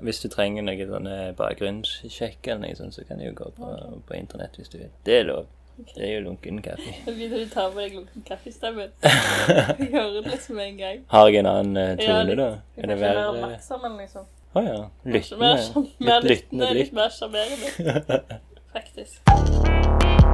Hvis du trenger noe sånne bakgrunnssjekk eller noe sånt, så kan du jo gå på, på internett hvis du vil. Det er lov. Det er jo lunken kaffe. Jeg begynner å ta på deg lunken kaffestemmen. Jeg hører det liksom med en gang. Har jeg en annen eh, Ja, tone, litt. da? Jeg Er kan det ikke verre være Å oppmerksom, men liksom. ja. Kanskje mer Lyttende. sjarm- mer Litt lyttende litt blikk. mer sjarmerende. Faktisk.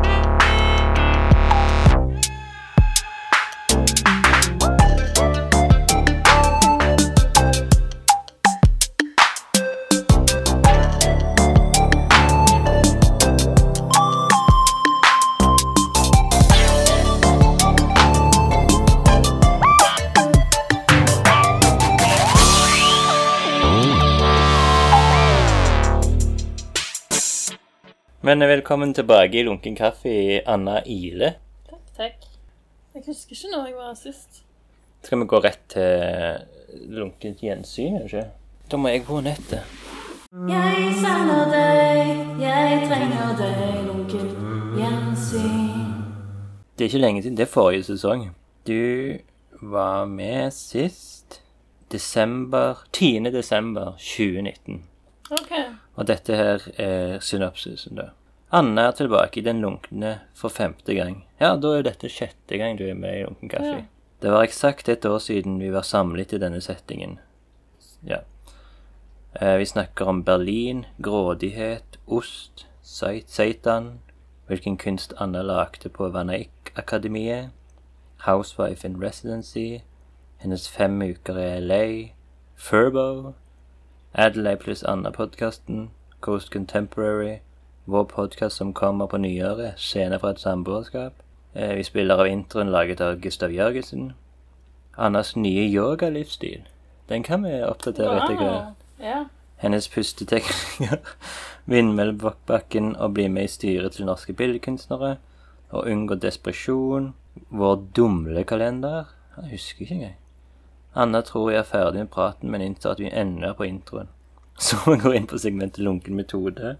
Men eh, velkommen tilbake i Lunken kaffe, Anna Ile. Takk, takk. Jeg husker ikke når jeg var her sist. Skal vi gå rett til lunkent gjensyn, er det ikke? Da må jeg på nettet. Jeg savner deg, jeg trenger deg, lunkent gjensyn. Det er ikke lenge siden. Det er forrige sesong. Du var med sist desember 10. desember 2019. Ok. Og dette her er synopsisen, da. Anna er tilbake i Den lunkne for femte gang. Ja, da er dette sjette gang du er med i Lunken kaffe. Ja. Det var eksakt et år siden vi var samlet i denne settingen. Ja. Eh, vi snakker om Berlin, grådighet, ost, Sait- Seitan, hvilken kunst Anna lagde på Vanaik-akademiet, Housewife in Residency, hennes fem uker i LA, Furbo, Adelaide pluss Anna-podkasten, Coast Contemporary, vår podkast som kommer på nyåret, Scener fra et samboerskap. Eh, Vi spiller av introen laget av Gustav Jørgensen. Annas nye yogalivsstil. Den kan vi oppdatere etter hvert. Wow. Ja. Hennes pusteteknikker, vindmøllebakken og bli med i styret til norske billedkunstnere, og unngå depresjon, vår dumlekalender, jeg husker ikke engang. Anna tror jeg er ferdig med praten, men innser at vi ender på introen. Så vi går inn på segmentet lunken metode,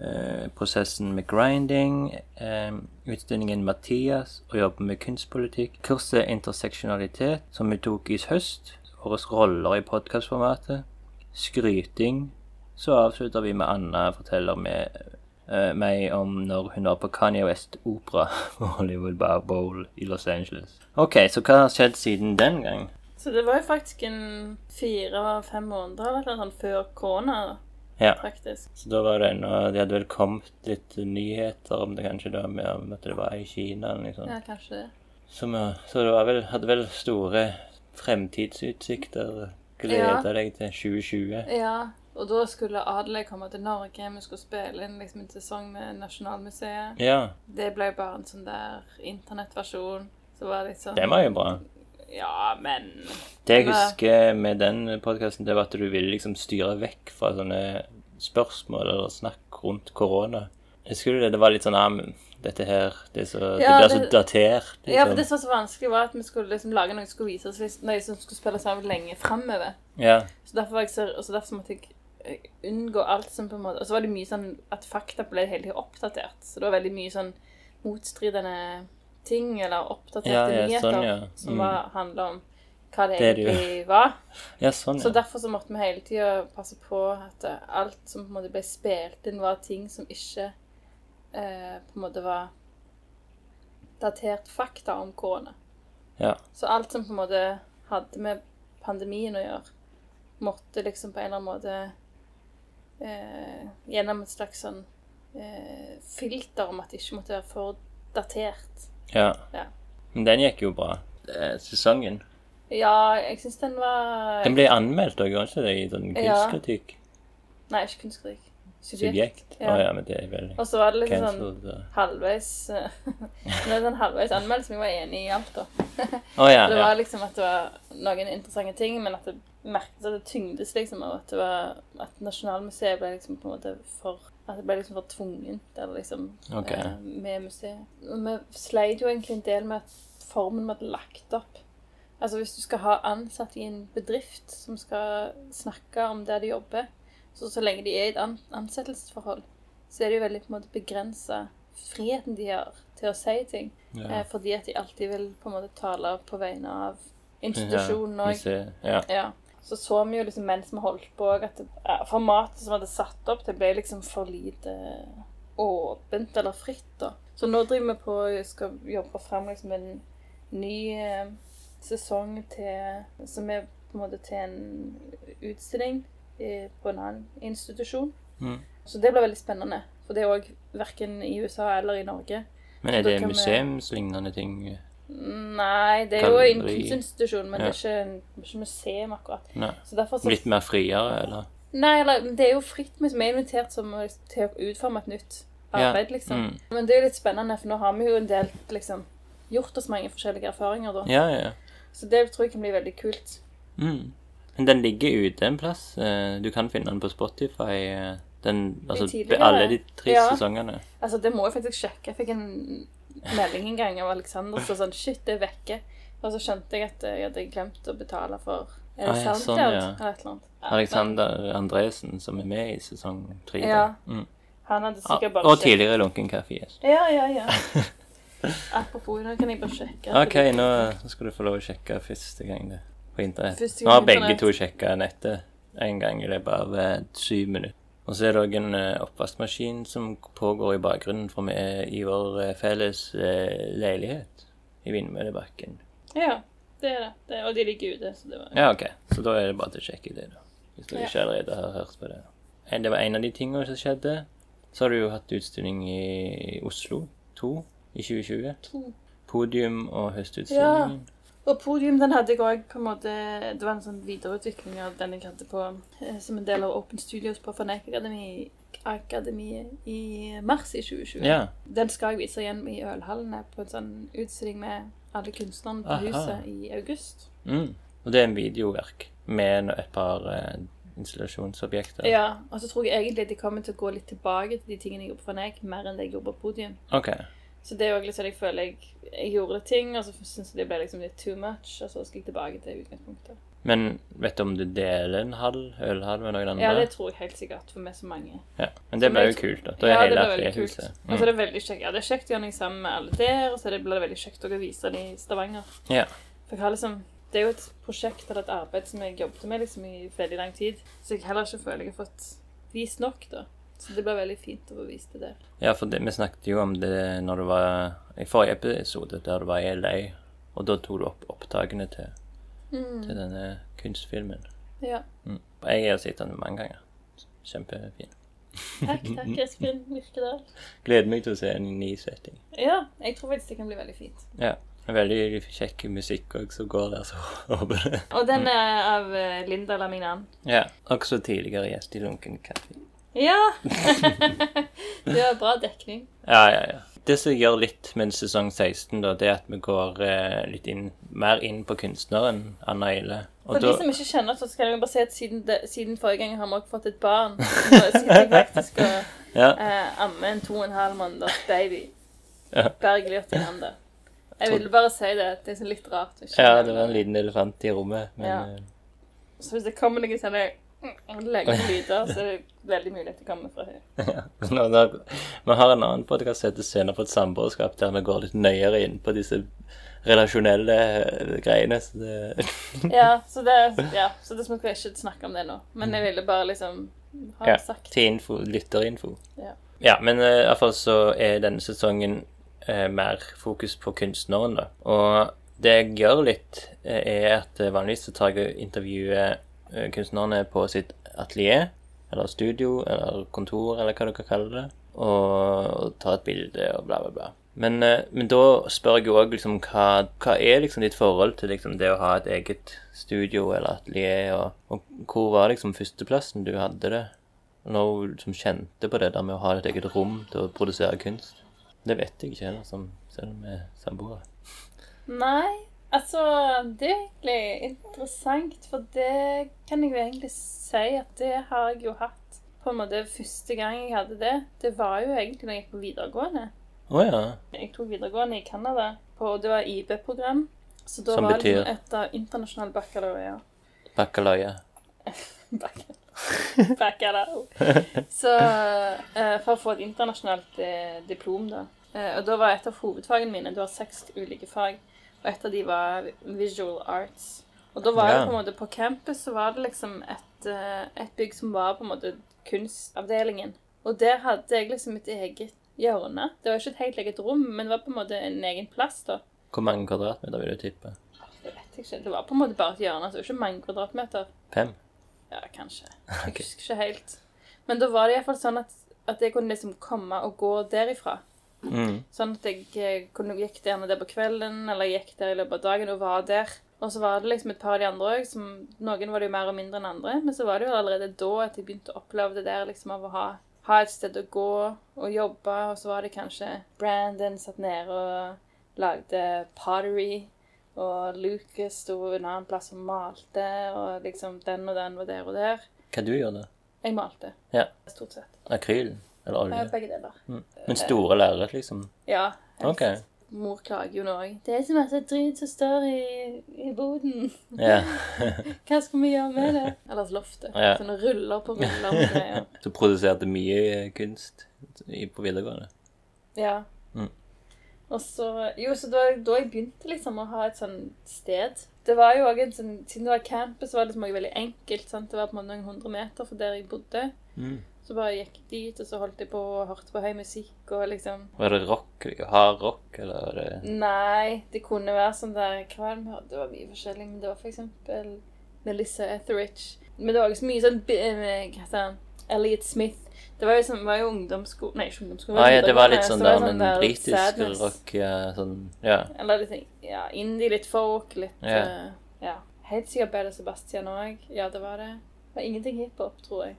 eh, prosessen med grinding, eh, utstillingen Mathias, og jobber med kunstpolitikk, kurset interseksjonalitet, som vi tok i høst, årets roller i podcastformatet, skryting, så avslutter vi med Anna forteller med, eh, meg om når hun var på Kanye West Opera på Hollywood Bar Bowl i Los Angeles. Ok, så hva har skjedd siden den gang? Så det var jo faktisk en fire-fem måneder eller noe sånt før korona, Ja, faktisk. så da var det ennå, de hadde vel kommet litt nyheter om det kanskje da, med om at det var i Kina eller noe sånt. Ja, kanskje det. Så, vi- så det var vel, hadde vel store fremtidsutsikter gleder Ja. deg til 2020. Ja, og da skulle Adelaide komme til Norge. Vi skulle spille inn liksom en sesong med Nasjonalmuseet. Ja, Det ble bare en sånn der internettversjon. Så var det litt sånn den var jo bra. Ja, men Det jeg Nei. husker med den podkasten, det var at du ville liksom styre vekk fra sånne spørsmål eller snakk rundt korona. Husker du det? Det var litt sånn ah, men dette her det, er så, Ja, det blir så det- datert. Liksom. Ja, for det som var så vanskelig, var at vi skulle liksom lage noe som skulle vise oss litt- noe som skulle spille sammen lenge framover. ja. Så derfor var jeg så, og så derfor måtte jeg eh, unngå alt som på en måte Og så var det mye sånn at fakta ble hele tiden oppdatert. Så det var veldig mye sånn motstridende ting eller oppdaterte Ja, ja, nyheter sånn, ja. Mm. som var, handla om hva det, Det er det jo. egentlig var. ja, sånn, Så ja. derfor så måtte vi hele tida passe på at eh, alt som på en måte ble spilt inn, var ting som ikke eh, på en måte var datert fakta om korona. ja. Så alt som på en måte hadde med pandemien å gjøre, måtte liksom på en eller annen måte eh, gjennom et slags sånn eh, filter om at det ikke måtte være for datert. Ja. Ja. Men den gikk jo bra. Eh, Sesongen. Ja, jeg syns den var Den ble anmeldt òg, ikke det? I sånn Ja. kunstkritikk. Nei, ikke kunstskrik. Subjekt. Å Ja. ja, men det er vel Og så var det liksom sånn cancelled. da. halvveis eh, Det er den halvveis anmeldelsen jeg var enig i alt, da. Å ja. Det ja. var liksom at det var noen interessante ting, men at det merkes at det tyngdes liksom av at det var At Nasjonalmuseet ble liksom på en måte for At det ble liksom for tvungent, eller liksom Ok. eh, Med museet. Og Vi sleit jo egentlig en del med at formen vi hadde lagt opp Altså hvis du skal ha ansatte i en bedrift som skal snakke om der de jobber, så så lenge de er i et an ansettelsesforhold, så er det jo veldig på en måte begrensa friheten de har til å si ting. Ja. Eh, fordi at de alltid vil på en måte tale på vegne av institusjonen Ja, vi òg. ser. Ja. Ja. Så så vi jo liksom mens vi holdt på at det, ja, formatet som hadde satt opp, det ble liksom for lite åpent eller fritt, da. Så nå driver vi på og skal jobbe fram liksom en ny eh, sesong til Som er på en måte til en utstilling eh, på en annen institusjon. Mm. Så det blir veldig spennende. For det er òg verken i USA eller i Norge. Men er Da det kan vi- museumslignende ting? Nei, det er jo en Galleri. kunstinstitusjon, men Ja. det er ikke, en- det er ikke museum akkurat. Nei. Så derfor så Litt mer friere, eller? Nei, eller, det er jo fritt, men vi er invitert som, til å utforme et nytt arbeid, liksom. Mm. Men det er jo litt spennende, for nå har vi jo en del, liksom, gjort oss mange forskjellige erfaringer, da. Ja, ja. Så det tror jeg kan bli veldig kult. Mm. Men den ligger ute en plass. eh, Du kan finne den på Spotify. eh, Den, altså, be- tidligere. alle de tre Ja. sesongene. Altså, det må jeg faktisk sjekke. Jeg fikk en melding en gang av Alexander som sa sånn, shit, det er vekke. Og så skjønte jeg at jeg hadde glemt å betale for er det Ah, ja, sånn, SoundCloud ja. eller et eller annet. Ja, Alexander Andresen, som er med i sesong tre. da. Ja. Mm. men Han hadde Ah, sikkert bare og sjekket- tidligere Lunken kaffe. yes. Ja, ja, ja. Apropos, nå kan jeg bare sjekke. OK, nå skal du få lov å sjekke første gang det på internett. Første Nå har gang på begge internett. to sjekka nettet en gang i løpet av eh, syv minutter. Og så er det òg en eh, oppvaskmaskin som pågår i bakgrunnen, for vi er i vår eh, felles eh, leilighet i Vindmøllebakken. Ja, det er det. det. Og de ligger ute, så det var Ja, OK. Så da er det bare til å sjekke det, da. Hvis dere Ja. ikke allerede har hørt på det. Eh, Det var en av de tingene som skjedde. Så har du jo hatt utstilling i Oslo 2 i 2020. to. Podium og høstutstillingen. Og podium den hadde jeg òg på en måte Det var en sånn videreutvikling av den jeg hadde på eh, som en del av Open Studios på Fanek Akademi Akademiet i mars i 2020. ja. Den skal jeg vise igjen i Ølhallene på en sånn utstilling med alle kunstnerne på Aha. huset i august. Mm. Og det er en videoverk med no- et par eh, installasjonsobjekter. Ja, Og så tror jeg egentlig at jeg kommer til å gå litt tilbake til de tingene jeg gjorde på Fanek, mer enn det jeg gjorde på podium. OK. Så det er jo litt sånn jeg føler jeg, jeg gjorde ting, og så syns jeg det ble liksom litt too much, og så skal jeg tilbake til utgangspunktet. Men vet du om du deler en halv ølhalv med noen andre? Ja, det tror jeg helt sikkert, for vi er så mange. Ja. Men det Så ble jeg jo tr- kult, da. Da er hele ble veldig trehuset. kult. Mm. Og så er det veldig kjekt. Ja, det er kjekt å gjøre noe sammen med alle der, og så er det- blir det veldig kjekt også å vise det i Stavanger. Ja. For jeg har liksom, det er jo et prosjekt eller et arbeid som jeg jobbet med liksom i veldig lang tid, så jeg heller ikke føler jeg har fått vist nok da. Så det blir veldig fint å få vist det der. Ja, for det, vi snakket jo om det når det var i forrige episode, der det var i LA. Og da tok du opp opptakene til, Mm. til denne kunstfilmen. Ja. Mm. Jeg har sett den mange ganger. Kjempefin. Takk, takk, Espen Myrkedal. Gleder meg til å se den i ny setting. Ja, jeg tror faktisk det kan bli veldig fint. Ja. En veldig kjekk musikk òg som går der, så håper det. Og den er av eh, Linda Lamignan. Ja. Også tidligere gjest i Lunken kaffe. Ja! det var bra dekning. Ja, ja, ja. Det som gjør litt med sesong 16, da, det er at vi går eh, litt inn, mer inn på kunstneren Anna Ile. Og For de da- som ikke kjenner oss, så skal jeg jo bare si at siden, det, siden forrige gang har vi også fått et barn. Så nå sitter jeg faktisk og ja. eh, ammer en to og en halv måneders baby. Ja. Bergljot i hånda. Jeg ville bare si det. at Det er så litt rart. å ikke Ja, nevne det var en liten elefant i rommet, men Ja. eh, Så hvis det kommer noen sånne mm, leggende lyder, så er det veldig mulig at det kommer fra henne. eh, nå, nå, Vi har en annen podkast som heter 'Scener på et samboerskap', der vi går litt nøyere inn på disse relasjonelle eh, greiene. Så det, Ja, så det, ja, så det skal jeg ikke snakke om det nå. Men jeg ville bare liksom ha ja, sagt til info, lytterinfo. Ja. Ja, men eh, i hvert fall så er denne sesongen eh, mer fokus på kunstneren, da. Og det jeg gjør litt, eh, er at eh, vanligvis så tar jeg og intervjuer eh, kunstnerne på sitt atelier, eller studio, eller kontor, eller hva du kan kalle det, og, og tar et bilde og bla, bla, bla. Men, eh, men da spør jeg jo òg liksom hva, hva er liksom ditt forhold til liksom det å ha et eget studio eller atelier, og, og hvor var liksom førsteplassen du hadde det? noe som liksom kjente på det der med å ha et eget rom til å produsere kunst. Det vet jeg ikke heller, som, selv om vi er samboere. Nei, altså det er egentlig interessant, for det kan jeg jo egentlig si at det har jeg jo hatt. På en måte første gang jeg hadde det, det var jo egentlig da jeg gikk på videregående. Å ja. Jeg tok videregående i Canada, på- det var IB-program. Så da Som var det betyr? liksom et av internasjonale baccalaureer. Bakkalaia. Bacc- Bacalao. Så eh, for å få et internasjonalt eh, diplom, da. Eh, og da var et av hovedfagene mine Du har seks ulike fag, og et av de var visual arts. Og da var det Ja. på en måte På campus så var det liksom et, eh, et bygg som var på en måte kunstavdelingen. Og der hadde jeg liksom et eget hjørne. Det var ikke et helt eget rom, men det var på en måte en egen plass, da. Hvor mange kvadratmeter vil du tippe? Det vet jeg ikke. Det var på en måte bare et hjørne, så det var ikke mange kvadratmeter. Fem? Ja, kanskje. Jeg husker ikke helt. Men da var det iallfall sånn at, at jeg kunne liksom komme og gå derifra. Mm. Sånn at jeg eh, kunne gikk der der på kvelden, eller gikk der i løpet av dagen og var der. Og så var det liksom et par av de andre òg, som noen var det jo mer og mindre enn andre. Men så var det jo allerede da at jeg begynte å oppleve det der liksom av å ha, ha et sted å gå og jobbe. Og så var det kanskje Brandon satt nede og lagde pottery. Og Lucas sto en annen plass og malte, og liksom den og den var der og der. Hva du gjør da? Jeg malte, Ja. stort sett. Akryl? Eller Eh, olje? Begge deler. Mm. Men store lerret, liksom? Ja. helst. OK. Mor klager jo nå òg. Det er så masse dritt som står i, i boden. Ja. Hva skal vi gjøre med det? Ellers loftet. Ja. Sånne sånn ruller på ruller. med greier. Du produserte mye kunst i- på videregående? Ja. Mm. Og så Jo, så da, da jeg begynte liksom å ha et sånn sted Det var jo òg en sånn Siden det var campus, så var det liksom også veldig enkelt. sant? Det var på en måte noen hundre meter fra der jeg bodde. Mm. Så bare gikk jeg dit, og så holdt jeg på og hørte på høy musikk og liksom Var det rock? Hard rock, eller var det Nei, det kunne være sånn der Hva var det vi hørte? Det var mye forskjellig, men det var for eksempel Melissa Etheridge. Men det var også mye sånn bi- eh, Hva heter han? Elliot Smith. Det var jo sånn, var jo ungdomssko... Nei, ikke ungdomssko. ah, ja, det var litt videregående, sånn så det der, var men britisk sadness. rock, ja, sånn, ja. Eller litt sånn, ja, indie, litt folk, litt Ja. eh, ja. Helt sikkert Bella Sebastian òg. Ja, det var det. Det var ingenting hiphop, tror jeg.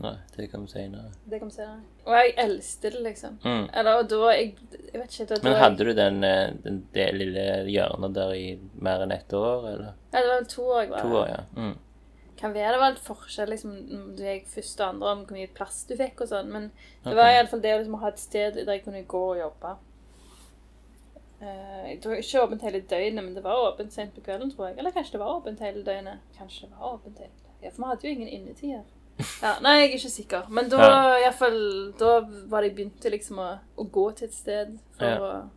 Nei, det kan vi senere. Det kan vi se. Og jeg elsket det, liksom. Mm. Eller og da jeg, jeg vet ikke da, da Men jeg- hadde du den, eh, den det lille hjørnet der i mer enn ett år, eller? Ja, det var to år jeg var To der. år, ja. Mm. kan være det var litt forskjell liksom, om du gikk først og andre, om hvor mye plass du fikk og sånn, men det Ok. var i alle fall det å liksom, ha et sted der jeg kunne gå og jobbe. Eh, det var ikke åpent hele døgnet, men det var åpent sent på kvelden, tror jeg. Eller kanskje det var åpent hele døgnet. Kanskje det var åpent hele døgnet. Ja, for vi hadde jo ingen innetider. Ja, nei, jeg er ikke sikker. Men da, Ja. i hvert fall, da var det jeg begynte liksom å, å gå til et sted for Ja. å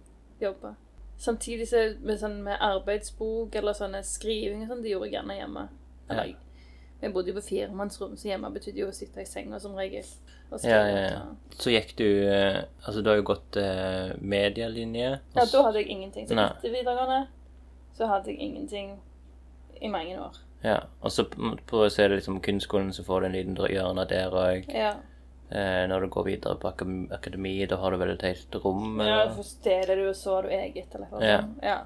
jobbe. Samtidig så med, sånn, med arbeidsbok eller sånne skriving og sånn, det gjorde jeg gjerne hjemme. Eller, Ja. Jeg bodde jo på firemannsrom, så hjemme betydde jo å sitte i senga som regel. Og skrive. Ja, ja, ja. Så gikk du, eh, altså du har jo gått eh, medielinje. og ja, s- da hadde jeg ingenting. Så Nei. etter videregående så hadde jeg ingenting i mange år. Ja, og så prøver jeg å se det liksom kunstskolen, så får du en liten dr- hjørne der òg. Ja, Eh, når du går videre på akademi, akademi, da har du vel et helt rom? ja Eller? Først deler du, og så har du eget. Eller, noe eh, Ja. sånt. ja.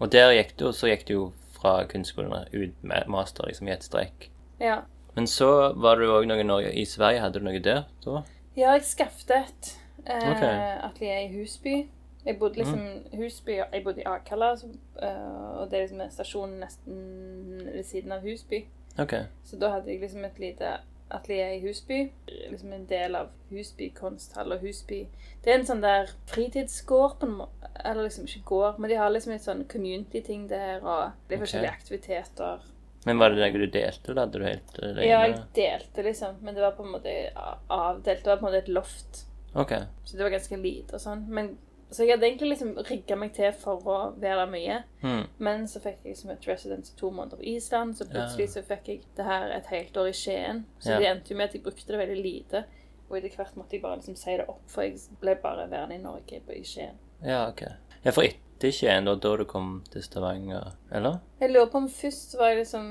Og der gikk du, og så gikk du jo fra kunstskolen ut med master liksom, i et strekk. ja. Men så var du òg noen år i Sverige. Hadde du noe der da? Ja, jeg skaffet et eh, Ok. atelier i Husby. Jeg bodde liksom Husby, jeg bodde i Akalla, så, eh, og det er liksom en stasjon nesten ved siden av Husby. OK. Så da hadde jeg liksom et lite atelier i Husby. Liksom en del av Husby kunsthall og Husby Det er en sånn der fritidsgård på en måte. Eller liksom ikke gård, men de har liksom et sånn community-ting der, og det er forskjellige aktiviteter. Men var det noe du delte, eller hadde du helt eh, alene? Ja, jeg delte liksom, men det var på en måte a- avdelt. Det var på en måte et loft. OK. Så det var ganske lite og sånn. Men, så jeg hadde egentlig liksom rigga meg til for å være der mye. Hmm. Men så fikk jeg liksom et residence i to måneder på Island, så plutselig så fikk jeg det her et helt år i Skien. Så Ja. det endte jo med at jeg brukte det veldig lite. Og etter hvert måtte jeg bare liksom si det opp, for jeg ble bare værende i Norge på i Skien. Ja, OK. Ja, for etter Skien, da, da du kom til Stavanger, eller? Jeg lurer på om først var jeg liksom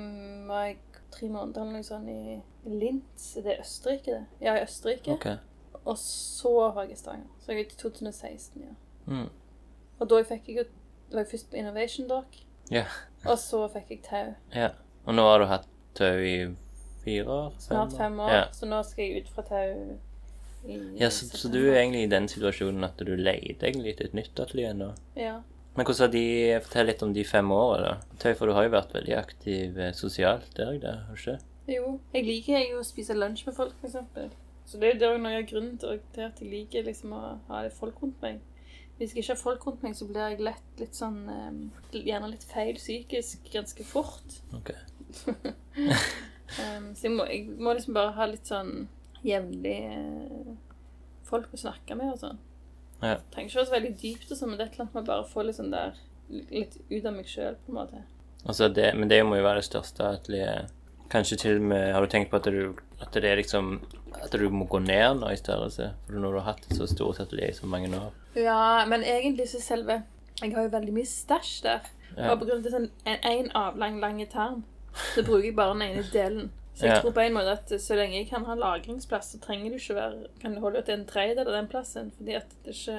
var jeg tre måneder eller noe sånt i Linz. Er det Østerrike, det? Ja, i Østerrike. OK. Og så var jeg i Stavanger. Så jeg er i 2016, ja. Hmm. Og da fikk jeg jo var jeg først på Innovation Dock. Ja. Og så fikk jeg tau. ja. Og nå har du hatt tau i fire år? Snart fem år. Ja. Så nå skal jeg ut fra tau i Ja, så, så du er egentlig i den situasjonen at du leter egentlig etter et nytt atelier nå? Ja. Men hvordan har de Fortell litt om de fem årene, da. Tøy, for du har jo vært veldig aktiv eh, sosialt, det har jeg det, har du ikke? Jo. Jeg liker jo å spise lunsj med folk, for eksempel. Så det er jo det er jo noe av grunnen til til at jeg liker liksom å ha folk rundt meg. Hvis jeg ikke har folk rundt meg, så blir jeg lett litt sånn eh, Gjerne litt feil psykisk ganske fort. Ok. Um, så jeg må, jeg må liksom bare ha litt sånn jevnlig eh, folk å snakke med og sånn. Ja. Trenger ikke være så veldig dypt og sånn, men det er et eller annet med å bare få litt sånn der Litt ut av meg sjøl, på en måte. Altså det, men det må jo være det største atelieret. Kanskje til og med Har du tenkt på at, du, at det er liksom At du må gå ned nå i størrelse? For når du har hatt et så stort atelier i så mange år. Ja, men egentlig så selve Jeg har jo veldig mye stæsj der. Ja. Og på grunn av sånn en, en avlang, lang tarm, så bruker jeg bare den ene delen. Så jeg Ja. tror på en måte at så lenge jeg kan ha lagringsplass, så trenger du ikke være Kan du holde ut en tredjedel av den plassen, fordi at det ikke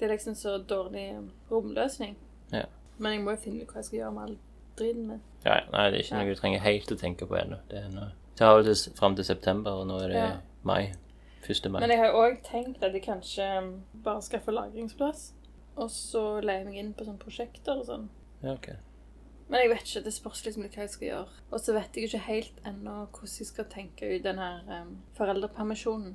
Det er liksom så dårlig eh, romløsning. Ja. Men jeg må jo finne ut hva jeg skal gjøre med all driten min. Ja, ja. nei, det er ikke noe du trenger helt å tenke på ennå. Det er nå- det har vel til s- fram til september, og nå er det Ja. mai. 1. mai. Men jeg har jo òg tenkt at jeg kanskje um, bare skal få lagringsplass. Og så leier jeg meg inn på sånne prosjekter og sånn. Ja, ok. Men jeg vet ikke, det spørs liksom litt hva jeg skal gjøre. Og så vet jeg ikke helt ennå hvordan jeg skal tenke ut den her um, foreldrepermisjonen.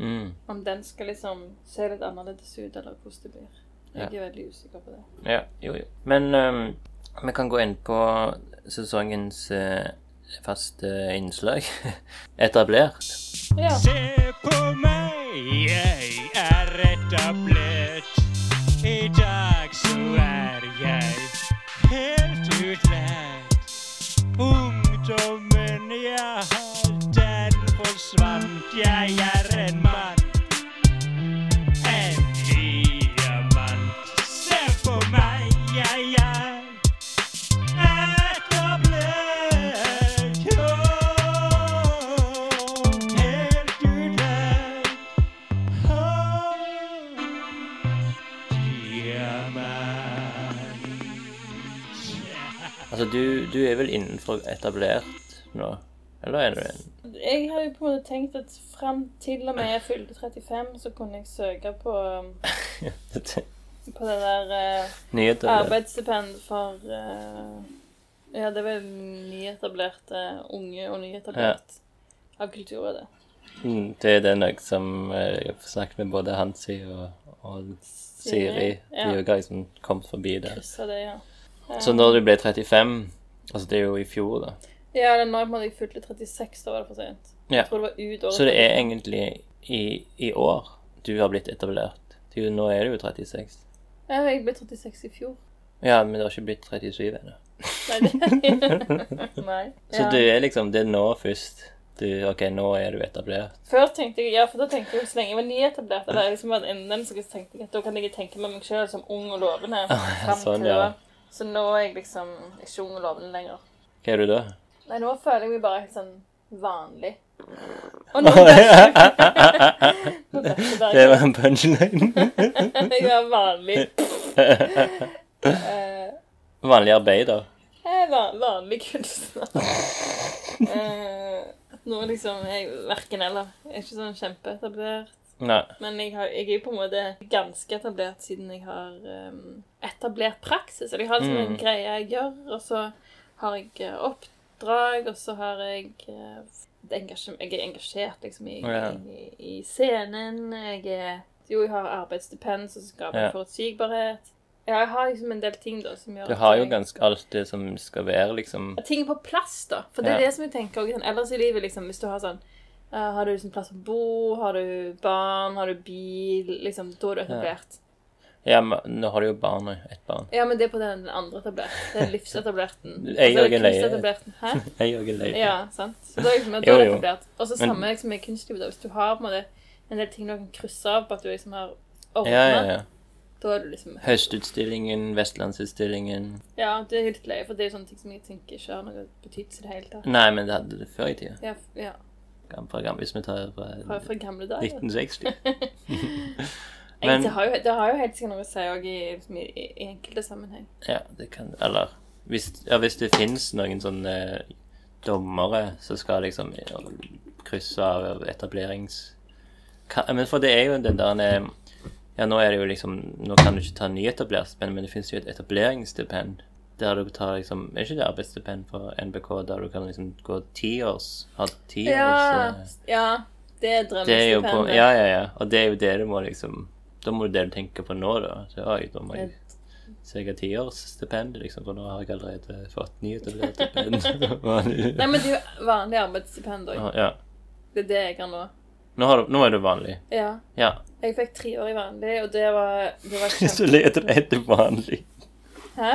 Mm. Om den skal liksom se litt annerledes ut, eller hvordan det blir. Jeg er veldig usikker på det. Ja, jo, jo. Men ehm, vi kan gå inn på sesongens eh, faste innslag. Etablert. Ja. Se på meg, jeg er etablert. I dag så er jeg helt utlært. Ungdommen jeg har, den forsvant. Jeg er en mann. En diamant. Se på meg, jeg er Altså, du, du er vel innenfor etablert nå? Eller er du en Jeg har jo på en måte tenkt at fram til og med jeg fylte 35, så kunne jeg søke på, um, på det der eh, nyetablert? Arbeidsstipend for eh, Ja, det var nyetablerte uh, unge og nyetablert av Kulturrådet. Mm, Det er den jeg som eh, jeg har snakket med både Hansi og, og Siri. De Ja. har liksom kommet forbi der. Kryssa det, ja. Så når du ble 35 Altså, det er jo i fjor, da. Ja, eller når jeg på en måte fylte 36, da var det for sent. Ja. Jeg tror det var ut året Så det er egentlig i, i år du har blitt etablert. Det er jo- Nå er du jo 36. før. Ja, jeg ble 36 i fjor. Ja, men det har ikke blitt 37 ennå. Nei, det Nei. Så Ja. du er liksom Det er nå først. Du, OK, nå er du etablert. Før tenkte jeg Ja, for da tenkte jeg jo så lenge jeg var nyetablert, eller jeg liksom var innen, så tenkte jeg at da kan jeg tenke meg meg sjøl som ung og lovende. frem til sånn, ja. da. Så nå er jeg liksom ikke ung og lovende lenger. Hva er du da? Nei, nå føler jeg meg bare helt sånn vanlig. Og nå sånn- det var en punchline. Jeg er vanlig. Eh, Vanlig arbeider. Jeg er van vanlig kunstner. Eh, Nå liksom er jeg verken eller. Jeg er ikke sånn kjempeetablert. Nei. Men jeg, har, jeg er jo på en måte ganske etablert siden jeg har ehm, etablert praksis. Eller jeg har liksom Mm. en greie jeg gjør, og så har jeg eh, oppdrag, og så har jeg eh, et engasje- Jeg er engasjert liksom i, Ja. i, i scenen. Jeg er Jo, jeg har arbeidsstipend som skaper Ja. forutsigbarhet. Ja, jeg har liksom en del ting da som gjør Du at har jo jeg- ganske alt det som skal være, liksom. at ting er på plass, da. For det er Ja. det som jeg tenker også, sånn, ellers i livet, liksom, hvis du har sånn eh, Har du liksom plass å bo, har du barn, har du bil liksom, Da er du etablert. Ja, men nå har du jo barn nå. Ett barn. Ja, men det er på den andre etablert. Det er livsetablerte. Jeg og en leie. Hæ? Jeg òg er lei. Ja, sant. Så da er liksom, da Jo, er det jo. etablert. Og så samme liksom, med kunstlivet. da. Hvis du har på en måte en del ting du kan krysse av på at du liksom har ordna, Ja, ja, ja. da er du liksom Høstutstillingen, Vestlandsutstillingen Ja, det er litt løye, for det er jo sånne ting som jeg tenker ikke har noe betydelse i det hele tatt. Nei, men det hadde det før i tida. Ja, f- ja. Gam- Fra gammel, hvis vi tar fra Fra, fra gamle dager. 1960. Men, Men det, har jo, det har jo helt sikkert noe å si òg i, liksom, i, i enkelte sammenheng. Ja, det kan Eller hvis, ja, hvis det fins noen sånne dommere som skal liksom krysse av etablerings... Ka- Men for det er jo den der eh, Ja, nå er det jo liksom Nå kan du ikke ta nyetableringsstipend, men det fins jo et etableringsstipend. Der du tar liksom Er ikke det arbeidsstipend for NBK der du kan liksom gå tiårs? Ha tiårs eh, ja det er Det er jo på drømmestipendet. Ja, ja, ja. Og det er jo det du må liksom Da må du det du tenker på nå, da. Så, oi, nå må jeg søke tiårsstipend, liksom, for nå har jeg allerede fått nyetablert Nei, stipend. men det er jo vanlig arbeidsstipend òg. ja. Det er det jeg har nå. Nå, har du, nå er du vanlig. Ja. Ja. Jeg fikk tre år i vanlig, og det var, det var Så kjempe... leter du etter vanlig. Hæ?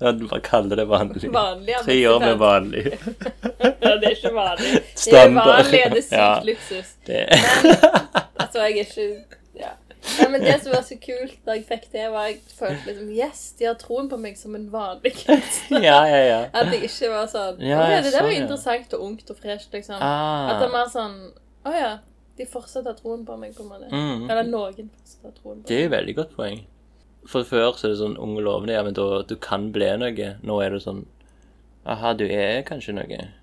Ja, du bare kaller det vanlig. Vanlig Tre år med vanlig. vanlig. Det er ikke vanlig. Det er Standard. vanlig, og det er sykt Ja. luksus. Det Altså, jeg er ikke ja. Nei, men det som var så kult da jeg fikk det, var at jeg følte liksom Yes, de har troen på meg som en vanlig kunstner. Ja, ja, ja. At jeg ikke var sånn Ja, «Å, jeg Det der så var det. interessant og ungt og fresht, liksom. At det er Ah. mer sånn Å ja. De fortsatt har troen på meg, på en måte. Mm. Eller noen fortsatt har troen på Det er jo et veldig godt poeng. For før så er det sånn unge lovende, ja, men da du kan bli noe. Nå er det sånn Aha, du er kanskje noe. meg.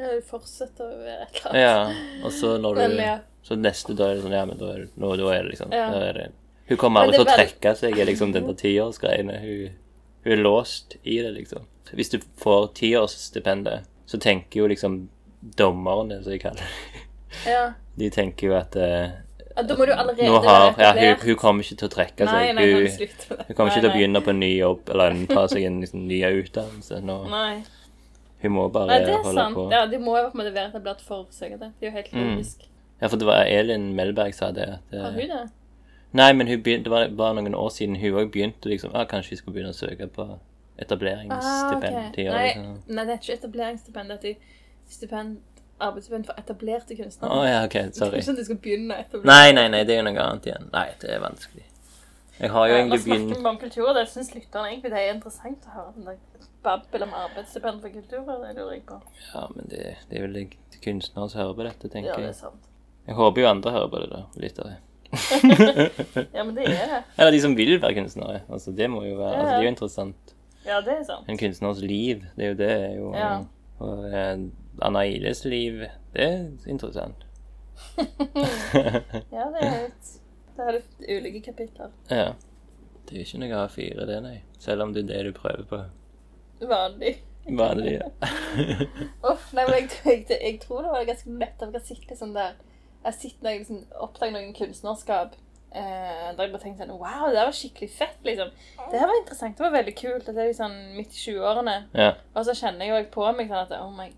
Ja, de fortsetter å være et eller annet. Ja. Og så når du Men, ja. Så neste dag er det sånn Ja, men da er, du- nå, da er det liksom Ja. da er det. Hun kommer aldri Men til det å er vel- trekke seg i liksom den der tiårsgreiene. Hun, hun er låst i det, liksom. Hvis du får tiårsstipendet, så tenker jo liksom dommerne, som jeg kaller det, Ja. de tenker jo at eh, Ja, Da må du allerede nå har, ja, hun, etablert. hun kommer ikke til å trekke seg. Nei, nei, hun, kan slutte med det. Hun kommer ikke Nei, til å begynne på en ny jobb eller en- ta seg en liksom, ny utdannelse. Nå, Nei. nei. hun må bare Nei, det er holde sant. på. Ja. Ja, De må jo på en måte være etablert for å søke det. Det er jo helt logisk. for det var Elin Melberg sa det. At, eh, Har hun det? Nei, men hun begynte, det var bare noen år siden hun òg begynte liksom ah, Kanskje vi skulle begynne å søke på Ah, ok. etableringsstipend. til å gjøre Nei, liksom. nei, det er ikke etableringsstipend. Det er stipend, arbeidsstipend for etablerte kunstnere. Å ja, OK. Det er Sorry. ikke sånn at du skal begynne å etablere. Nei, nei, nei, det er jo noe annet igjen. Nei, det er vanskelig. Jeg har jo egentlig Nå snakker begynt vi om kultur, og det syns lytterne egentlig det er interessant å høre. Den der babbel om arbeidsstipend for kultur, og det lurer jeg på. Ja, men det, det er vel de de kunstnere som hører på dette, Ja, tenker det er jeg. sant. Jeg håper jo andre hører på det, da. Litt av det. Ja, men det er det. Eller de som vil være kunstnere. Altså, det må jo være altså, Det er Ja. jo interessant. Ja, det er sant. en kunstners liv. Det er jo det. er jo, Ja. Og eh, Anna Iles liv, det er interessant. Ja, det er et Det er litt ulike kapitler. Ja. Det er ikke noe A4, det, nei. Selv om det er det du prøver på. Vanlig. Vanlig. Uff, nei, men jeg, jeg, jeg tror det var ganske lett av å sitte liksom der. Jeg sitter når jeg liksom oppdager noen kunstnerskap, eh, der jeg bare tenker sånn, wow, det her var skikkelig fett, liksom. Det her var interessant, det var veldig kult, at det er liksom midt i 20-årene. Ja. Og så kjenner jeg jo jeg på meg sånn at, oh my,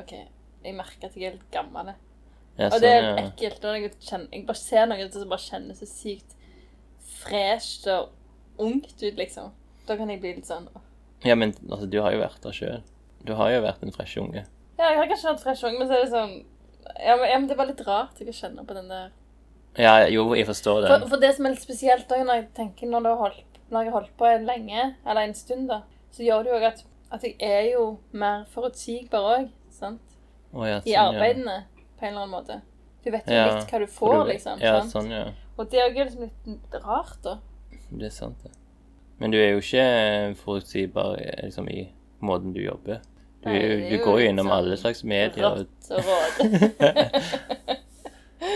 ok, jeg merker at jeg er litt gammel. ja Og det er sånn, ja. ekkelt, når jeg, kjenner, jeg bare ser noe som bare kjennes så sykt fresht og ungt ut, liksom. Da kan jeg bli litt sånn, ja, men altså, du har jo vært der sjøl. Du har jo vært en fresh unge. Ja, jeg har kanskje hatt fresh ung, men så er det sånn ja, men, ja, men Det er bare litt rart jeg kjenner på den der. Ja, jo, jeg forstår For, den. for det som er litt spesielt da, når jeg tenker når, du har holdt, når jeg har holdt på en lenge, eller en stund, da, så gjør det jo òg at, at jeg er jo mer forutsigbar òg, sant? Å, ja, I sånn, arbeidene, på en eller annen måte. Du vet jo Ja. litt hva du Ja. får, Du- liksom. Ja, sant? sånn, ja. Og det er jo liksom litt rart, da. Det er sant, det. Men du er jo ikke forutsigbar eh, liksom, i måten du jobber. Du, Nei, det er du jo går jo litt innom sånn alle slags medier. og- Rått og råd.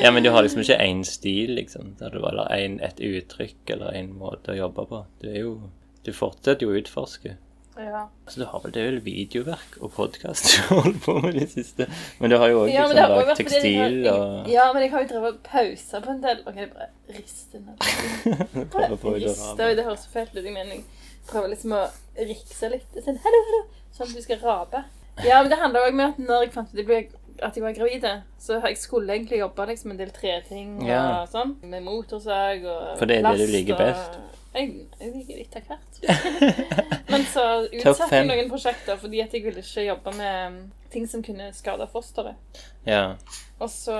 Ja, men du har liksom ikke én stil, liksom. Der du, eller en, et uttrykk eller en måte å jobbe på. Du er jo Du fortsetter jo å utforske. ja. Så du har vel, det er vel videoverk og podkast du holder på med i det siste. Men du har jo òg Ja, men liksom det har lagd også vært fordi jeg tekstil har- og Ja, men jeg har jo drevet og pausa på en del. OK, jeg bare rister ned. prøver på å Rister, rabe. det høres så fælt ut. Jeg mener, jeg prøver liksom å rikse litt. og Sånn, hallo, hallo, sånn at du skal rape. Ja, men det handler òg om at når jeg fant ut jeg ble- at jeg var gravid, så jeg skulle egentlig jobbe liksom en del treting og Ja. sånn. Med motorsag og For det er det du last liker og- best. Jeg, jeg liker litt av hvert. men så utsatte jeg fem. noen prosjekter fordi at jeg ville ikke jobbe med um, ting som kunne skade fosteret. Ja. Og så,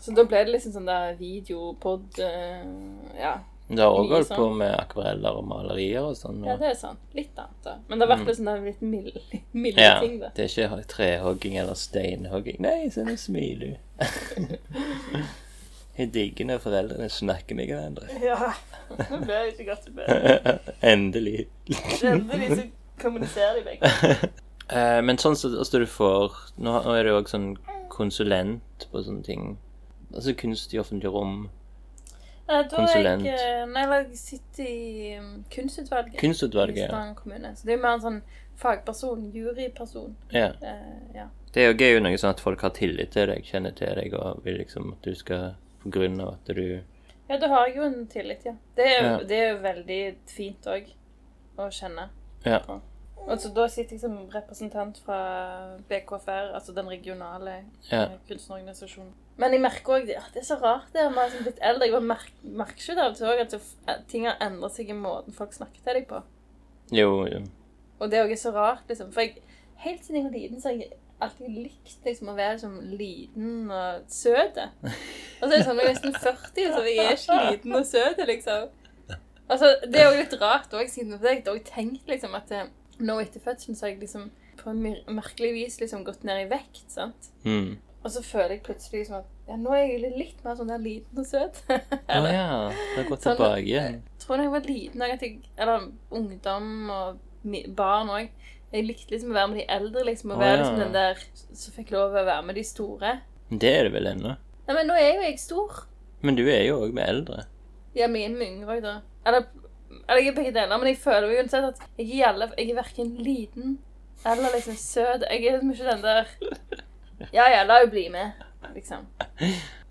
så da ble det liksom sånn der video, pod eh, ja. Men Du har Mye òg holdt sånn. på med akvareller og malerier og sånn. ja, Og, det er sant. Litt annet, da. Men det har vært litt sånn der litt milde, milde Mm. ja, ting, da. det er ikke trehogging eller steinhogging. Nei, se nå smiler du. Jeg digger når foreldrene snakker med hverandre. Ja. Nå ble jeg ikke godt humør. Endelig. Endelig så kommuniserer de begge. Eh, men sånn som altså, du får Nå, nå er du òg sånn konsulent på sånne ting. Altså kunst i offentlige rom. Da er Konsulent. jeg eh, Nei, eller jeg sitter i um, kunstutvalget. i Kunstutvalget. ja. Stavanger kommune. Så det er jo mer en sånn fagperson, juryperson. Ja. Eh, ja. Det er jo gøy noe sånn at folk har tillit til deg, kjenner til deg og vil liksom at du skal På grunn av at du ja, da har jeg jo en tillit, ja. Det er, Ja. Det er jo veldig fint òg å kjenne. Ja. Og så da sitter jeg som representant fra BKFR, altså den regionale Ja. eh, kunstnerorganisasjonen. Men jeg merker òg det. at Det er så rart. det Man er liksom blitt altså eldre. Jeg bare mer- merker ikke det av og til også, at det f- at ting har endret seg i måten folk snakker til deg på. Jo, jo. Og det er også så rart, liksom. For jeg, helt siden jeg var liten, så har jeg alltid likt liksom, å være liksom, liten og søt. Og så er det sånn, når jeg er nesten 40, så jeg er ikke liten og søt, liksom. Altså, det er jo litt rart òg, siden for jeg har også tenkt liksom, at eh, nå etter fødselen så har jeg liksom på en myr- merkelig vis liksom, gått ned i vekt. sant? Mm. Og så føler jeg plutselig liksom, at ja, nå er jeg litt mer sånn der liten og søt. Å ja. Det har gått Sånn- tilbake igjen. tror da jeg var liten også at jeg, Eller ungdom og mi- barn òg. Jeg likte liksom å være med de eldre. liksom Å Å, være ja. liksom den der som fikk lov å være med de store. Men Det er det vel ennå. Nei, men nå er jo jeg stor. Men du er jo òg med eldre. Ja, mine med yngre òg, da. Eller, eller jeg er begge deler, men jeg føler jo uansett at jeg er, i alle, jeg er verken liten eller liksom søt. Jeg er liksom ikke den der Ja ja, la henne bli med, liksom.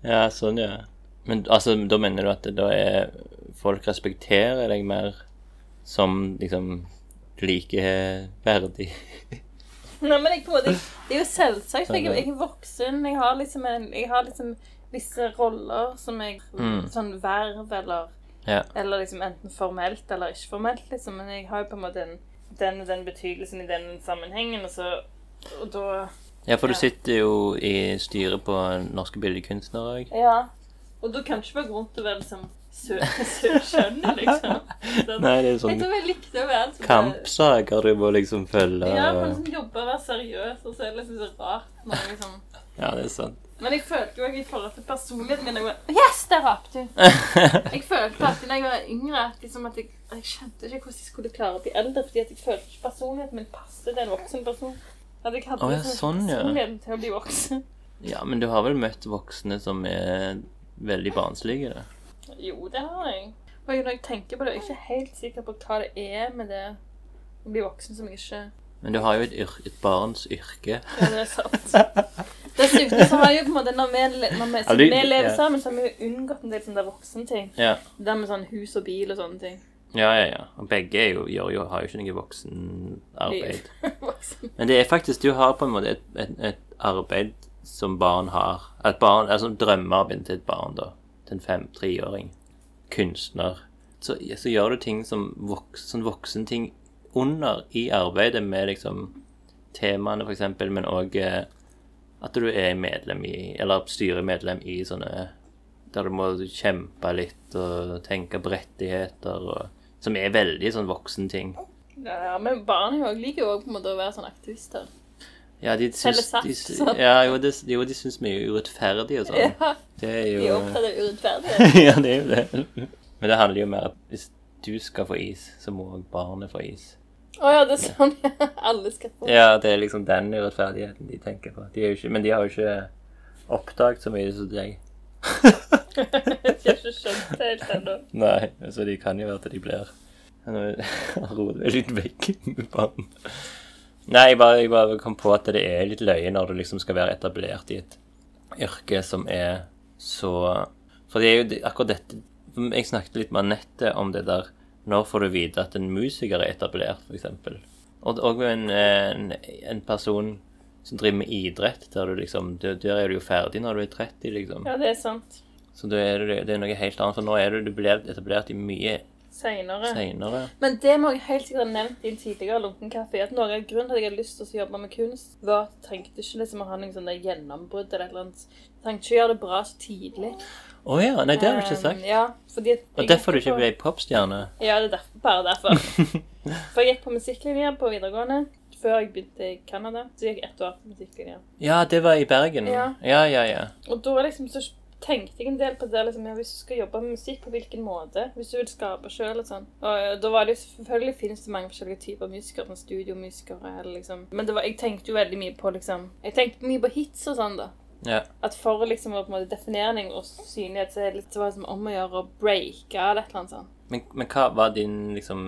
Ja, sånn, ja. Men altså, da mener du at det da er Folk respekterer deg mer som liksom likeverdig? Nei, men jeg, på en måte, jeg, det er jo selvsagt. for Jeg, jeg er voksen. Jeg har liksom, en, jeg har liksom visse roller som jeg Mm. Sånn verv eller Ja. Eller liksom enten formelt eller ikke formelt, liksom. Men jeg har jo på en måte den, den og den betydelsen i den sammenhengen, og så Og da ja, for du Ja. sitter jo i styret på Norske Billedkunstnere òg. Ja. Og da kan det ikke være grunn til å være liksom sø- søkjønnet, liksom. Sånn. Nei, det er Jeg sånn tror jeg likte å være liksom kampsaker du må liksom følge. Ja, man og- liksom jobber og være seriøs, og så er det liksom så rart når jeg liksom Ja, det er sant. Men jeg følte jo også i forhold til personligheten min jeg var, Yes, der rapte du! Jeg følte alltid da jeg var yngre at, liksom at jeg, jeg skjønte ikke hvordan jeg skulle klare å bli eldre. Fordi at jeg følte ikke personligheten min passet til en voksen person. At jeg hadde Å, ja, liksom sånn, ja. personligheten til å bli voksen. Ja, men du har vel møtt voksne som er veldig barnslige, da? Jo, det har jeg. Og når jeg tenker på det, er jeg ikke helt sikker på hva det er med det å bli voksen som jeg ikke Men du har jo et, yr et barns yrke. Ja, det er sant. Dessuten så har jeg jo på en måte, når vi, når vi, Ja, du- vi lever ja. sammen, så har vi jo unngått en del sånne der voksenting. Ja. Det der med sånn hus og bil og sånne ting. Ja, ja, ja. Og begge er jo, gjør jo, har jo ikke noe voksenarbeid. Voksen. Men det er faktisk Du har på en måte et, et, et arbeid som barn har. Et barn, altså drømmearbeid til et barn, da. Til en fem-treåring. Kunstner. Så, så gjør du ting som voks, sånn voksenting under i arbeidet med liksom temaene, for eksempel, men òg eh, at du er medlem i Eller styremedlem i sånne der du må kjempe litt og tenke på rettigheter og Som er veldig sånn voksenting. Ja, men barn jo også- liker jo òg på en måte å være sånn aktivister. Ja, de Selge syns, saft, de, sy- sånn. ja, jo, de, jo, de syns vi er urettferdige og sånn. Ja, Det er de er jo opptatt av urettferdighet. Ja, det er jo det. Men det handler jo mer om at hvis du skal få is, så må også barnet få is. Å ja, det er sånn ja. alle skal få. Ja, det er liksom den urettferdigheten de tenker på. De er jo ikke, men de har jo ikke oppdaget så mye som deg. Jeg har ikke skjønt det helt ennå. Nei, så de kan jo være til de blir Nå roer det litt vekk med barn. Nei, jeg bare, jeg bare kom på at det er litt løye når du liksom skal være etablert i et yrke som er så For det er jo det- akkurat dette Jeg snakket litt med Anette om det der Når får du vite at en musiker er etablert, f.eks.? Og og med en, en, en person som driver med idrett, der du liksom Der der er du jo ferdig når du er 30, liksom. Ja, det er sant. Så da er det, det er noe helt annet. For nå er du, du blir etablert i mye Seinere. seinere. Men det må jeg helt sikkert ha nevnt i en tidligere lunken kaffe, at noe av grunnen til at jeg hadde lyst til å jobbe med kunst, var at jeg trengte ikke liksom å ha noen sånne gjennombrudd eller et eller annet. Jeg trengte ikke å gjøre det bra så tidlig. Å ja. Nei, det har du ikke Um, sagt. Ja, fordi at jeg Og derfor du gikk ikke på- ble popstjerne. Ja, det er derfor, bare derfor. For jeg gikk på musikklinja på videregående. Før jeg begynte i Canada, så gikk jeg ett år på musikklinja. Ja, det var i Bergen. Ja. Ja, ja, ja. Og da liksom så tenkte jeg en del på det liksom, ja, hvis du skal jobbe med musikk, på hvilken måte? Hvis du vil skape sjøl og sånn. Og eh, da var det jo selvfølgelig finnes det mange forskjellige typer musikere, sånn studiomusikere eller liksom Men det var, jeg tenkte jo veldig mye på liksom Jeg tenkte mye på hits og sånn, da. ja. At for liksom å på en måte definering og synlighet, så er det litt så var det liksom om å gjøre å breake eller et eller annet sånn. sånt. Men, men hva var din liksom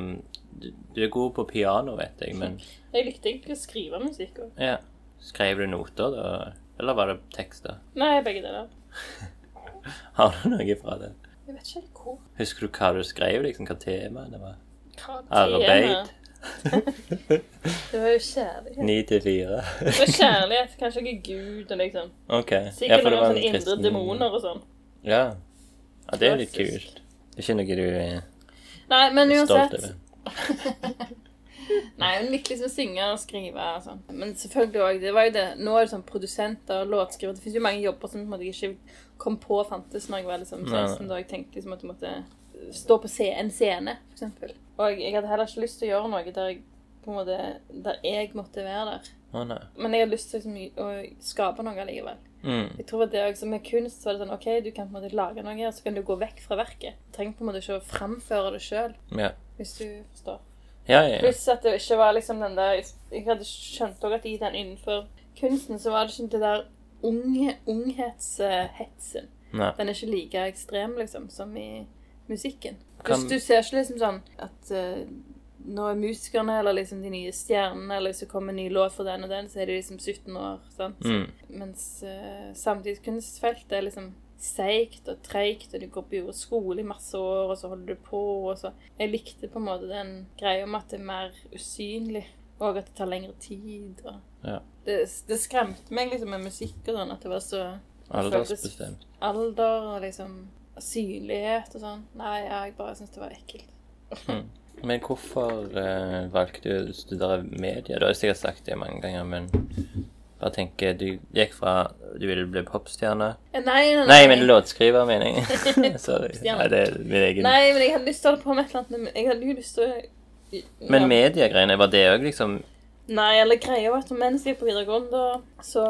du, du er god på piano, vet jeg, men Jeg likte egentlig å skrive musikk òg. ja. Skrev du noter, da? Eller var det tekster? Nei, begge deler. Har du noe fra det? Jeg vet ikke helt hvor. Husker du hva du skrev? liksom, Hva temaet det var? Hva det er Arbeid? med- Det var jo kjærlighet. Ni til fire? Det var kjærlighet, kanskje ikke Gud og liksom. OK. Sikkert for det noen var en sånne indre kristen- demoner og sånn. Ja. ja. Det er litt Klassisk. kult. Det er ikke noe du er Nei, men stolt uansett. over? Nei, hun likte liksom å synge og skrive og sånn. Men selvfølgelig òg, det var jo det. Nå er det sånn produsenter, låtskriver Det fins jo mange jobber som på en måte jeg ikke kom på fantes når jeg var liksom Nei. 16, da jeg tenkte liksom at jeg måtte stå på se- en scene, for eksempel. Og jeg hadde heller ikke lyst til å gjøre noe der jeg på en måte, der jeg måtte være der. Å nei. Men jeg hadde lyst til liksom, å skape noe allikevel. Mm. Jeg tror at det er også med kunst så er det sånn, ok, du kan på en måte lage noe, og så kan du gå vekk fra verket. Du trenger på en måte ikke å framføre det selv, Ja. hvis du forstår. Ja, ja, ja. Pluss at det ikke var liksom den der, jeg hadde skjønt også at i den innenfor kunsten så var det ikke det der unge, ungshetshetsen. Nei. Den er ikke like ekstrem liksom, som i musikken. Kan- Hvis du ser ikke liksom sånn at eh, nå er musikerne eller liksom de nye stjernene, eller så kommer en ny låt for den og den, så er de liksom 17 år, sant? Mm. Mens eh, samtidskunstfeltet er liksom seigt og treigt, og du går på jorda skole i masse år, og så holder du på, og så Jeg likte på en måte den greia om at det er mer usynlig, og at det tar lengre tid, og Ja. Det, det skremte meg liksom med musikk og sånn, at det var så Aldersbestemt. alder og liksom synlighet og sånn. Nei, ja, jeg bare syntes det var ekkelt. Mm. Men hvorfor eh, valgte du å studere media? Du har jo sikkert sagt det mange ganger, men bare tenker, du gikk fra du ville bli popstjerne Eh, Nei, nei, Nei, men låtskriver, mener jeg. Sorry. Popstjerne. Nei, det er min egen. Nei, men jeg hadde lyst til å holde på med et eller annet. men Jeg hadde jo lyst til å Men Ja. mediegreiene, var det òg liksom Nei, eller greia var at mens jeg på videregående, så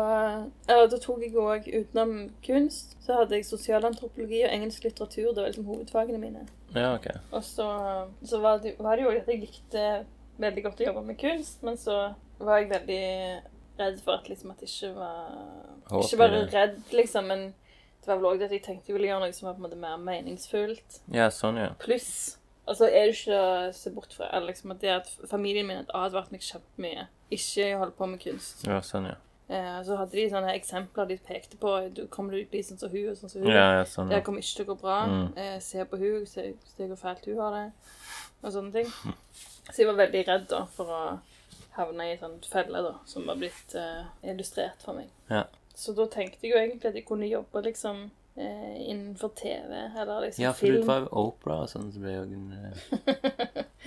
Eller da tok jeg òg utenom kunst. Så hadde jeg sosialantropologi og engelsk litteratur. Det var liksom hovedfagene mine. Ja, OK. Og så, så var, det, var det jo at jeg likte veldig godt å jobbe med kunst, men så var jeg veldig redd for at liksom at det ikke var Håp i Ikke bare det. redd, liksom, men det var vel òg det at jeg tenkte jeg ville gjøre noe som var på en måte mer meningsfullt. Ja, sånn, ja. Pluss Og så er det ikke å se bort fra eller liksom, at det at familien min hadde advart meg kjempemye. Ikke holde på med kunst. Ja, sånn, ja. Eh, så hadde de sånne eksempler de pekte på. Du kommer du til å bli sånn som hun og sånn som hun. Ja, ja, sånn, Det ja. her kommer ikke til å gå bra. Mm. Eh, se på hun, se, se hvor fælt hun har det. Og sånne ting. Så jeg var veldig redd da for å havne i en sånn felle da, som var blitt eh, illustrert for meg. Ja. Så da tenkte jeg jo egentlig at jeg kunne jobbe liksom eh, innenfor TV eller liksom ja, for film. du var jo Opera og sånn, så ble jo en eh,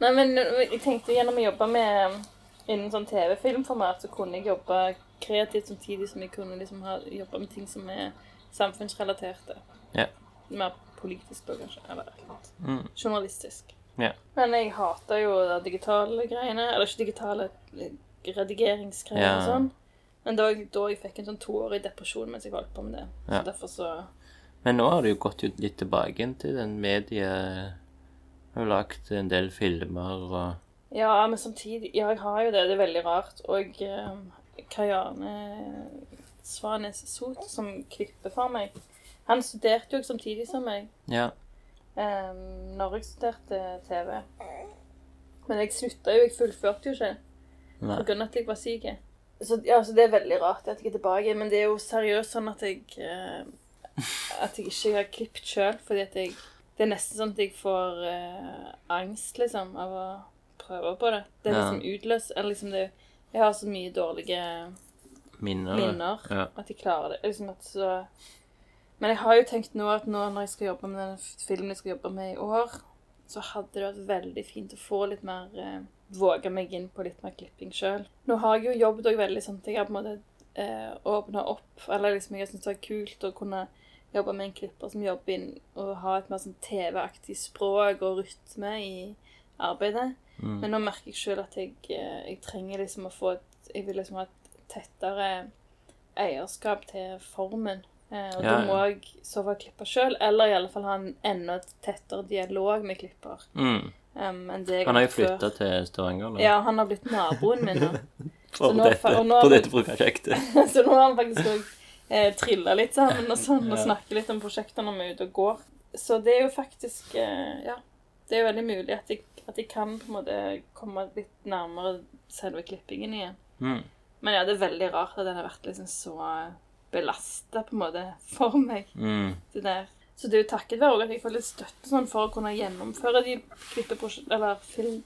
Nei, men jeg tenkte gjennom å jobbe med Innen sånn TV-filmformat så kunne jeg jobbe kreativt samtidig som jeg kunne liksom ha, jobbe med ting som er samfunnsrelaterte. Ja. Mer politisk da, kanskje. Eller et eller annet. mm, journalistisk. Ja. Men jeg hater jo de digitale greiene. Eller ikke digitale eh, redigeringsgreier Ja. og sånn. Men det var da jeg fikk en sånn toårig depresjon mens jeg holdt på med det. Ja. Så derfor så Men nå har du jo gått ut litt tilbake igjen til den medie... Har jo lagd en del filmer og Ja, men samtidig Ja, jeg har jo det. Det er veldig rart. Og eh, Kariane Svanes Sot, som klipper for meg, han studerte jo samtidig som meg Ja. eh, når jeg studerte TV. Men jeg slutta jo. Jeg fullførte jo ikke Nei. pga. at jeg var syk. Så, ja, så det er veldig rart at jeg er tilbake. Men det er jo seriøst sånn at jeg eh, At jeg ikke har klippet sjøl, fordi at jeg Det er nesten sånn at jeg får eh, angst, liksom, av å prøve på det. Det er Ja. liksom utløs Eller liksom det Jeg har så mye dårlige Minner. minner Ja. at jeg klarer det. Liksom at så Men jeg har jo tenkt nå at nå når jeg skal jobbe med den f- filmen jeg skal jobbe med i år, så hadde det vært veldig fint å få litt mer eh, Våge meg inn på litt mer klipping sjøl. Nå har jeg jo jobbet òg veldig sånn at jeg har på en måte eh, åpna opp Eller liksom jeg syns det var kult å kunne jobbe med en klipper som jobber inn og ha et mer sånn TV-aktig språk og rytme i arbeidet. Mm. Men nå merker jeg sjøl at jeg, eh, jeg trenger liksom å få et Jeg vil liksom ha et tettere eierskap til formen. Eh, Ja, og da ja. må jeg i så fall klippe sjøl, eller i alle fall ha en enda tettere dialog med klipper. Mm. em, enn det jeg Han har jo hatt før. flytta til Stavanger nå. Ja, han har blitt naboen min nå. for, så nå dette, fa- og nå- for dette prosjektet. så nå har han faktisk òg eh, trilla litt sammen og sånn, og Ja. snakker litt om prosjekter når vi er ute og går. Så det er jo faktisk eh, Ja. Det er jo veldig mulig at jeg, at jeg kan på en måte komme litt nærmere selve klippingen igjen. Mm. Men ja, det er veldig rart at den har vært liksom så belasta på en måte for meg. Mm. det der. Så det er jo takket være også at jeg får litt støtte sånn for å kunne gjennomføre de klippeprosjektene, eller film,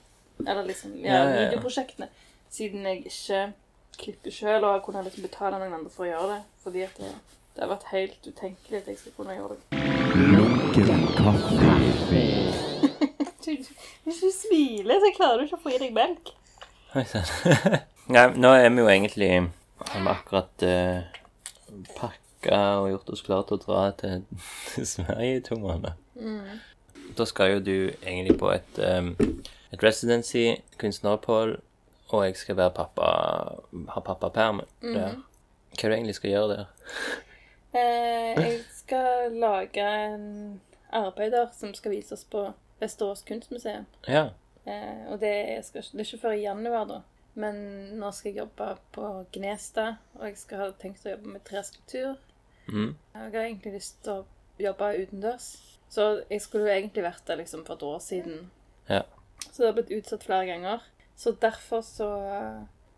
eller liksom, ja, Ja, ja, ja. videoprosjektene, siden jeg ikke klipper selv, og har kunnet liksom betale noen andre for å gjøre det, fordi at det, det har vært helt utenkelig at jeg skal kunne gjøre det. du, hvis du smiler, så klarer du ikke å få i deg melk. Oi sann. Nei, nå er vi jo egentlig Har vi akkurat eh, pakka og gjort oss klar til å dra til, til Sverige i to måneder. Mm. Da skal jo du egentlig på et, eh, et residency, kunstneropphold, og jeg skal være pappa ha pappaperm der. Mhm. Hva er det du egentlig skal gjøre der? Eh, jeg skal lage en arbeider som skal vises på Vesterås kunstmuseum. Ja. Eh, og det, er- jeg skal, ikke- det er ikke før i januar, da. Men nå skal jeg jobbe på Gnesta, og jeg skal ha tenkt å jobbe med treskulptur. Mhm. Jeg har egentlig lyst til å jobbe utendørs. Så jeg skulle jo egentlig vært der liksom, for et år siden. Ja. Så det har blitt utsatt flere ganger. Så derfor så,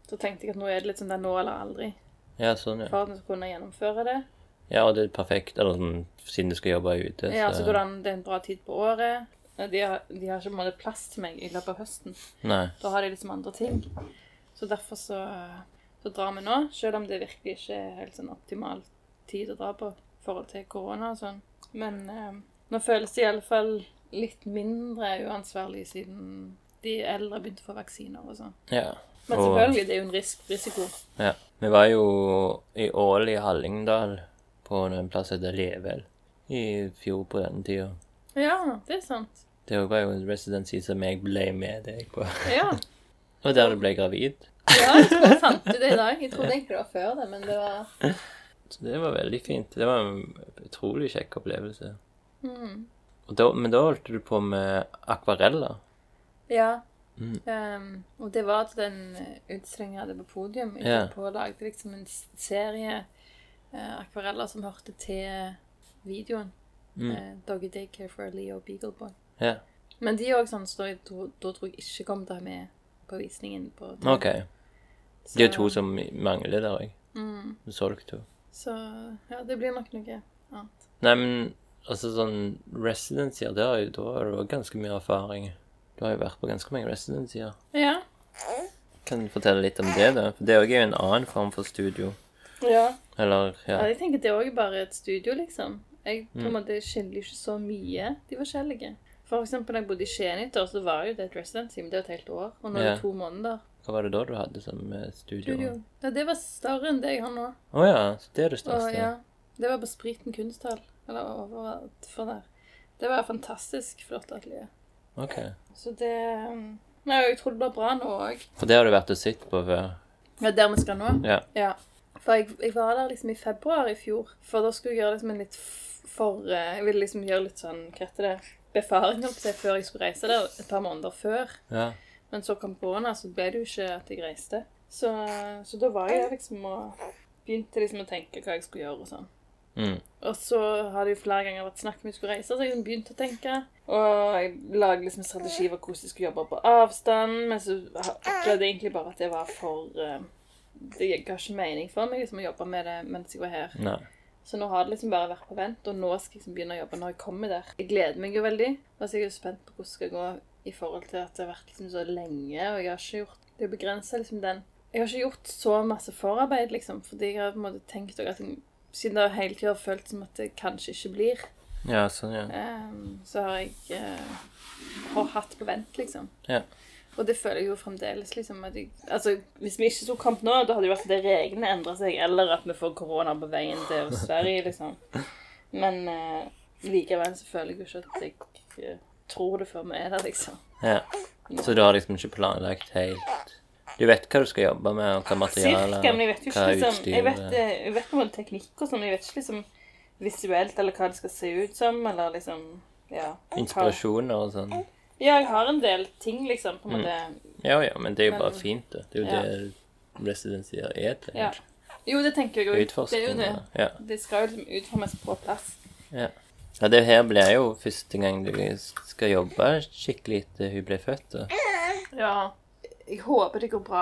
så tenkte jeg at nå er det litt sånn det er nå eller aldri. ja, sånn, ja. For at vi skal kunne gjennomføre det. Ja, og det er perfekt, eller sånn, siden du skal jobbe ute. Ja, så går det an, det er en bra tid på året. De har, de har ikke på en måte plass til meg i løpet av høsten. Nei. Da har de liksom andre ting. Så derfor så, så drar vi nå, selv om det virkelig ikke er helt sånn optimal tid å dra på i forhold til korona og sånn. Men eh, nå føles det iallfall litt mindre uansvarlig siden de eldre begynte å få vaksiner og sånn. Ja. Men Og- selvfølgelig, det er jo en risk, risiko. Ja. Vi var jo i Ål i Hallingdal, på en plass som heter Level, i fjor på denne tida. Ja, det er sant. Det var jo en residency som jeg ble med deg på. Ja. Og der du ble gravid. ja, jeg tror jeg fant ut det i dag. Jeg trodde egentlig det var før det, men det var Så det var veldig fint. Det var en utrolig kjekk opplevelse. Og da, men da holdt du på med akvareller. Ja. Mm. Ehm, og det var til den eh, utstillingen jeg hadde på podium. Jeg Ja. yeah. på og lagde liksom en s- serie eh, akvareller som hørte til videoen. Mm. Eh, 'Doggy Daycare for a Leo Beagleboy'. Ja. Men de òg sånn, så da jeg tro- da tror jeg ikke kom til å ha med på visningen. på TV. OK. Så, Det er jo to som mangler der òg. Mm. Du solgte to. Så ja, det blir nok noe annet. Nei, men altså sånn residency, der har jo da har du òg ganske mye erfaring. Du har jo vært på ganske mange residency. Ja. Kan du fortelle litt om det, da? For det er jo en annen form for studio. ja. Eller, Ja, ja. jeg tenker det er også bare et studio, liksom. Jeg Mm. på en måte skiller jo ikke så mye de forskjellige. For eksempel da jeg bodde i Skien i et år, så var jo det et residency, men det var et helt år. Og nå er Ja. det to måneder. Hva var det da du hadde som eh, Studio. studio? Ja, det var større enn det jeg har nå. Å ja, så det er det Og, største. ja, det var på Spriten kunsthall. Eller overalt for der. Det var et fantastisk flott atelier. Ok. Så det um, Nei, jeg tror det blir bra nå òg. For det har du vært og sett på før? Ja, der vi skal nå. Ja. Ja. For jeg, jeg var der liksom i februar i fjor. For da skulle jeg gjøre liksom en litt f- for eh, Jeg ville liksom gjøre litt sånn Hva heter det? Befaring, holdt på å si, før jeg skulle reise der. Et par måneder før. ja. Men så kom korona, så ble det jo ikke at jeg reiste. Så, så da var jeg der liksom og begynte liksom å tenke hva jeg skulle gjøre og sånn. Mm. Og så har det jo flere ganger vært snakk om jeg skulle reise, så jeg liksom begynte å tenke. Og jeg lagde liksom en strategi for hvordan jeg skulle jobbe på avstand, men så ha- opplevde jeg egentlig bare at det var for eh, Det ga ikke mening for meg liksom, å jobbe med det mens jeg var her. Nei. Så nå har det liksom bare vært på vent, og nå skal jeg liksom begynne å jobbe når jeg kommer der. Jeg gleder meg jo veldig, og så er jeg jo spent på hvordan det skal gå i forhold til at det har vært liksom så lenge, og jeg har ikke gjort Det begrenser liksom den Jeg har ikke gjort så masse forarbeid, liksom, fordi jeg har på en måte tenkt også at jeg, siden det hele tida har følt som at det kanskje ikke blir, Ja, sånn, ja. ehm, så har jeg eh, har hatt på vent, liksom. Ja. Og det føler jeg jo fremdeles, liksom. At jeg, altså, hvis vi ikke skulle kommet nå, da hadde det vært at det reglene endret seg, eller at vi får korona på veien til Sverige, liksom. Men eh, likevel så føler jeg jo ikke at jeg eh, tror det før vi er der, liksom. ja. Så du har liksom ikke planlagt helt Du vet hva du skal jobbe med, og hva materialet Cirka, men jeg vet jo ikke hva liksom, jeg vet, utstyret- eh, jeg vet noe om teknikk og sånn, men jeg vet ikke liksom visuelt, eller hva det skal se ut som, eller liksom, ja. hva- eh, Inspirasjoner og sånn. Ja, jeg har en del ting, liksom, på en måte. Ja ja, men det er jo bare Men- fint, det. Det er jo ja. det residensier er til. Ja. Jo, det tenker jeg jo. Det er jo Utforskning. det. Ja. Det skal jo liksom utformes på plass. Ja. ja, det her blir jo første gang du skal jobbe skikkelig etter hun ble født. Da. Ja. Jeg håper det går bra.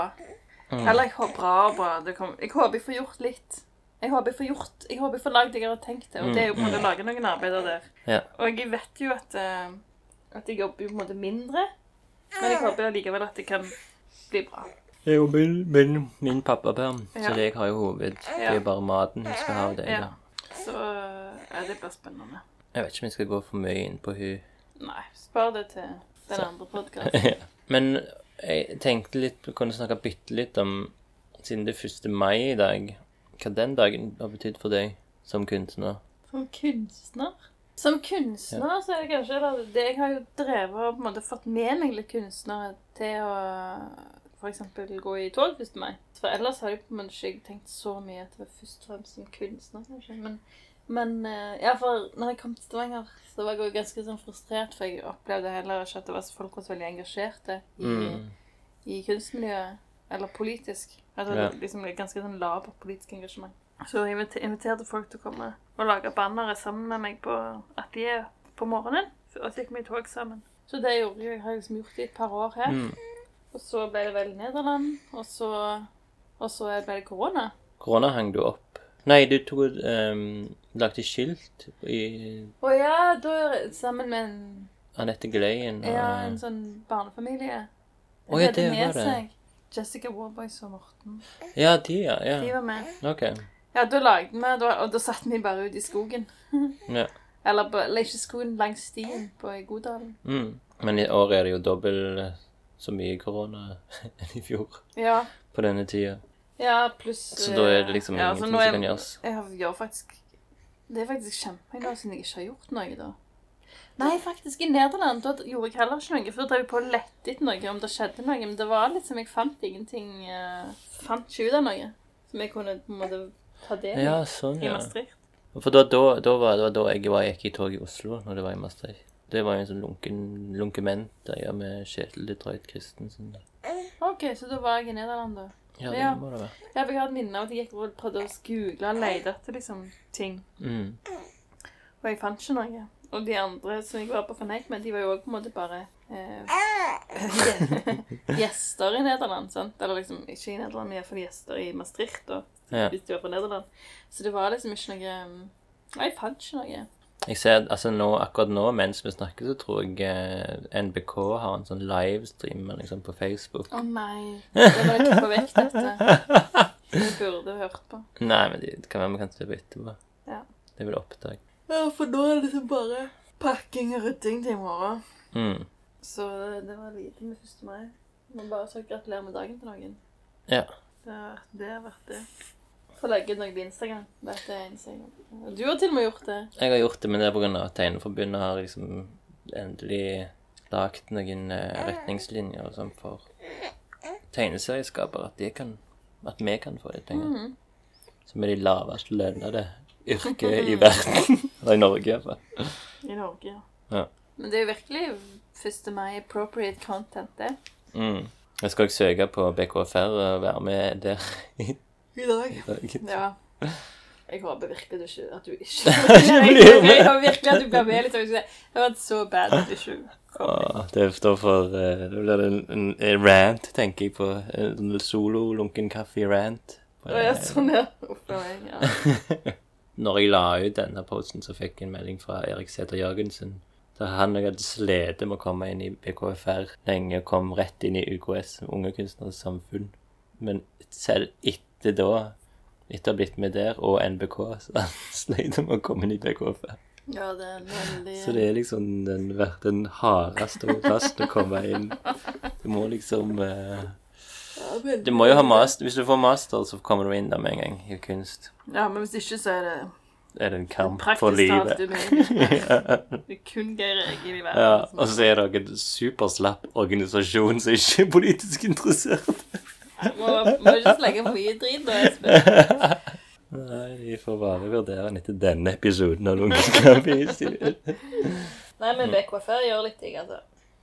Mm. Eller jeg håper bra og bra. Det kom. Jeg håper jeg får gjort litt. Jeg håper jeg får gjort Jeg håper jeg får lagd det jeg har tenkt det. Og det er jo på en måte å lage noen arbeider der. Mm, Ja. Og jeg vet jo at, eh, at jeg jobber jo på en måte mindre. Men jeg håper allikevel at det kan bli bra. Det er jo min, min, min pappaperm, så Ja. jeg har jo hoved. Det er Ja. jo bare maten jeg skal ha av deg. Ja. da. Så eh, ja, det blir spennende. Jeg vet ikke om jeg skal gå for mye inn på hun. Nei, spar det til Den andre podkasten. Ja. Men jeg tenkte litt Vi kunne snakke bitte litt om Siden det er 1. mai i dag, hva den dagen har betydd for deg som kunstner? Som kunstner. Som kunstner så er det kanskje eller, det, Jeg har jo drevet og på en måte fått med meg litt kunstnere til å f.eks. gå i tog 1. mai. For ellers har jeg på en måte ikke tenkt så mye at det var først og fremst som kunstner, kanskje. Men, men eh, ja, for når jeg kom til Stavanger, så var jeg jo ganske sånn frustrert, for jeg opplevde heller ikke at det var så folk var så veldig engasjerte i, Mm. i kunstmiljøet. Eller politisk. At det Ja. var liksom litt ganske sånn labert politisk engasjement. Så jeg invite- inviterte folk til å komme og lage bannere sammen med meg på atelier på morgenen. Og så gikk vi i tog sammen. Så det gjorde jeg, har jeg liksom gjort i et par år her. Mm. Og så ble det vel Nederland, og så, og så ble det korona. Korona hang du opp. Nei, du tok et, ehm, lagde skilt i Å ja, da er- sammen med en, Anette Gleien. og- ja, en sånn barnefamilie. Å, ja, De hadde det med var det. seg Jessica Warboys og Morten. Ja, de, ja. De ja. var med. Ok. Ja, da lagde vi, da- og da satt vi bare ute i skogen. Ja. Eller på, eller ikke skogen, langs stien på i Godalen. Mm. Men i år er det jo dobbelt eh, så mye korona enn i fjor Ja, på denne tida. ja pluss eh, Så da er det liksom ja, så ingenting som nå er- kan gjøres. Jeg har- gjør faktisk Det er faktisk kjempelenge nå siden jeg ikke har gjort noe, da. Nei, faktisk, i Nederland da gjorde jeg heller ikke noe. For da drev jeg på og lette etter noe, om det skjedde noe. Men det var liksom Jeg fant ingenting eh, Fant ikke ut av noe som jeg kunne på en måte ta del i. Ja, sånn, I ja. Maastricht. For da, da, da var det var da jeg var, gikk i tog i Oslo, når det var i Maastricht. Det var jo en sånn lunken, lunkement der ja, med Kjetil Detroit Christensen. OK, så da var jeg i Nederland, da. Ja, det Ja. må det være. Ja, for Jeg har et minne av at jeg gikk rundt og prøvde å google og lete etter liksom, ting. Mm. Og jeg fant ikke noe. Og de andre som jeg var på fornøyd med, de var jo også på en måte bare eh, gjester i Nederland. sant? Eller liksom ikke i Nederland, men iallfall gjester i Maastricht, da, Ja. hvis de var fra Nederland. Så det var liksom ikke noe um, Nei, jeg fant ikke noe. Jeg ser, at- altså nå, Akkurat nå mens vi snakker, så tror jeg eh, NBK har en sånn livestream liksom, på Facebook. Å nei. Det var ikke på vekk, dette. Jeg burde hørt på. Nei, men det kan være vi kan se på etterpå. Ja. Det er vel opptak. Ja, for nå er det liksom bare pakking og rydding til i morgen. Mm. Så det var lite med 1. mai. Må bare så gratulere med dagen til noen. Ja. Det har, det har vært det. Få legge ut noe på Instagram. Dette er Instagram. Og Du har til og med gjort det. Jeg har gjort det, men det er pga. at Tegneforbundet har liksom endelig lagd noen eh, retningslinjer og sånn for tegneserieskapere. At, de kan, at vi kan få de Mm. pengene. Mhm. Som er de lavest lønnede yrket i verden. Eller i Norge, i hvert fall. I Norge, ja. Ja. Men det er jo virkelig 1. mai appropriate content, det. Mm. Jeg skal også søke på BKFR og være med der i I dag. dag. Ja. Jeg håper virkelig du ikke at du ikke Jeg håper virkelig at du blir med litt. og ikke- Det var så bad at du ikke Åh, det står for eh, Da blir det en, en, en rant, tenker jeg på. En sånn solo lunken kaffe-rant. Å ja, sånn, ja. Uff a meg. Ja. Når jeg la ut denne posten, så fikk jeg en melding fra Erik Sæther Jørgensen. Der han òg hadde slitt med å komme inn i BKFR lenge, og kom rett inn i UKS, Unge Kunstneres Samfunn. Men selv etter da, etter å ha blitt med der, og NBK, så han slet med å komme inn i BKFR. ja, det er en veldig Så det er liksom den, vært den hardeste plassen å komme inn. Du må liksom eh, Ja, veldig. Du må jo ha master. Hvis du får master, så kommer du inn der med en gang, i kunst. Ja, men hvis ikke, så er det Det er det en kamp praktisk for talt livet. umulig. Det er kun Geir Egil i verden. altså. Ja, altså. som- og så er det en superslapp organisasjon som ikke er politisk interessert. Må, må ikke legge for mye drit nå, Espen. Nei, vi får bare vurdere den etter denne episoden av Lunkenskapet. Nei, men BKFR gjør litt ting, altså.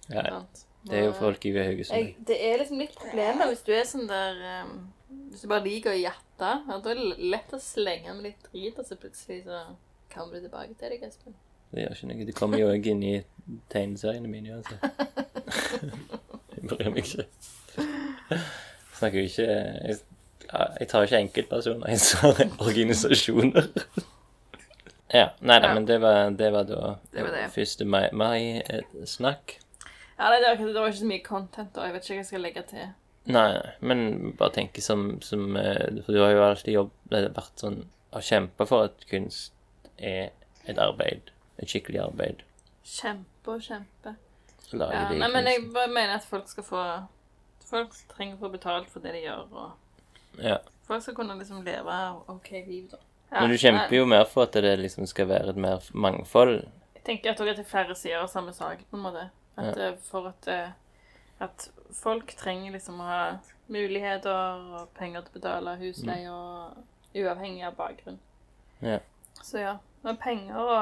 Ja, Sant. det er jo folk i jeg, Haugesund. Det er liksom litt problemer hvis du er sånn der ehm, Hvis du bare liker å jatte. Ja, da er det lett å slenge med litt drit, og så plutselig så kommer du tilbake til deg, Espen. Det gjør ikke noe. Det kommer jo òg inn i tegneseriene mine uansett. Jeg bryr meg ikke. Jeg snakker jo ikke Jeg, jeg tar ikke enkeltpersoner, jeg tar organisasjoner. Ja. Nei da, Ja. men det var, det var da Det var det. første mai, mai eh, snakk. Ja, nei, det var, ikke- det var ikke så mye content, da. Jeg vet ikke hva jeg skal legge til. Nei, nei, men bare tenke som, som eh, For du har jo alltid jobb, eh, vært sånn og kjempa for at kunst er et arbeid. Et skikkelig arbeid. Kjempe og kjempe. lage Ja, de nei, men jeg kunst- bare mener at folk skal få Folk trenger å få betalt for det de gjør, og ja. folk skal kunne liksom leve av OK liv, da. Ja, Men du kjemper jo mer for at det liksom skal være et mer mangfold. Jeg tenker at også at det er flere sider av samme sak, på en måte. At eh, For at, eh, at folk trenger liksom å ha muligheter og penger til å betale husleie, og uavhengig av bakgrunn. Mm. Ja. Så ja. Men penger og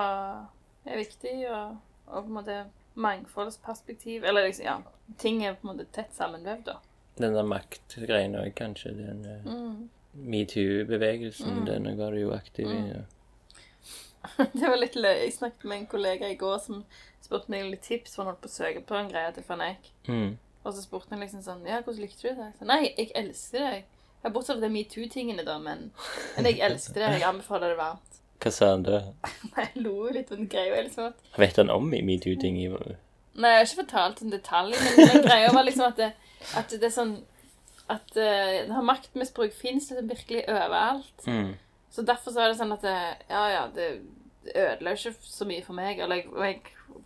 er viktig, og, og på en måte mangfoldsperspektiv Eller liksom, ja. Ting er på en måte tett sammenvevd, da. Den der maktgreien òg, kanskje. Den eh, metoo-bevegelsen, den var du jo aktiv i. Ja. Det var litt løy. Jeg snakket med en kollega i går som spurte meg om litt tips, for han holdt på å søke på en greie til Fanek. Mm. Og så spurte han liksom sånn Ja, hvordan likte du det? Jeg sa, Nei, jeg elsker det. Jeg Bortsett fra de metoo-tingene, da, men, men jeg elsker det. Jeg anbefaler det varmt. Hva sa han da? Nei, Jeg lo litt, men greia er liksom at Vet han om i metoo-ting? i- Nei, jeg har ikke fortalt en detalj, men den greia var liksom at det, at det er sånn At eh, det her maktmisbruk fins liksom virkelig overalt. Mm. Så derfor så er det sånn at det, ja, ja, det ødela ikke så mye for meg. Eller jeg, og jeg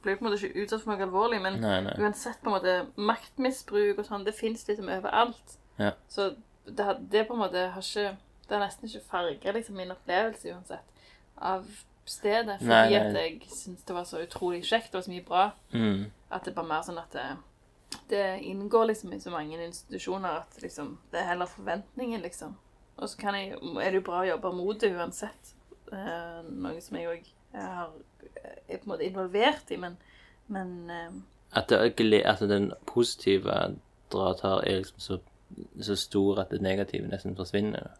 ble på en måte ikke utsatt for noe alvorlig, men Nei, nei. uansett på en måte maktmisbruk og sånn, det fins liksom overalt. Ja. Så det, har- det på en måte har ikke Det har nesten ikke farga liksom, min opplevelse uansett av stedet. Fordi Nei, nei. at jeg syns det var så utrolig kjekt, det var så mye bra, Mm. at det bare mer sånn at det, det inngår liksom i så mange institusjoner at liksom, det er heller forventningen, liksom. Og så kan jeg, er det jo bra å jobbe mot det uansett. Eh, noe som jeg òg eh, er på en måte involvert i, men, men eh, At, det, er gle- at den positive dratt her er liksom så, så stor at det negative nesten forsvinner.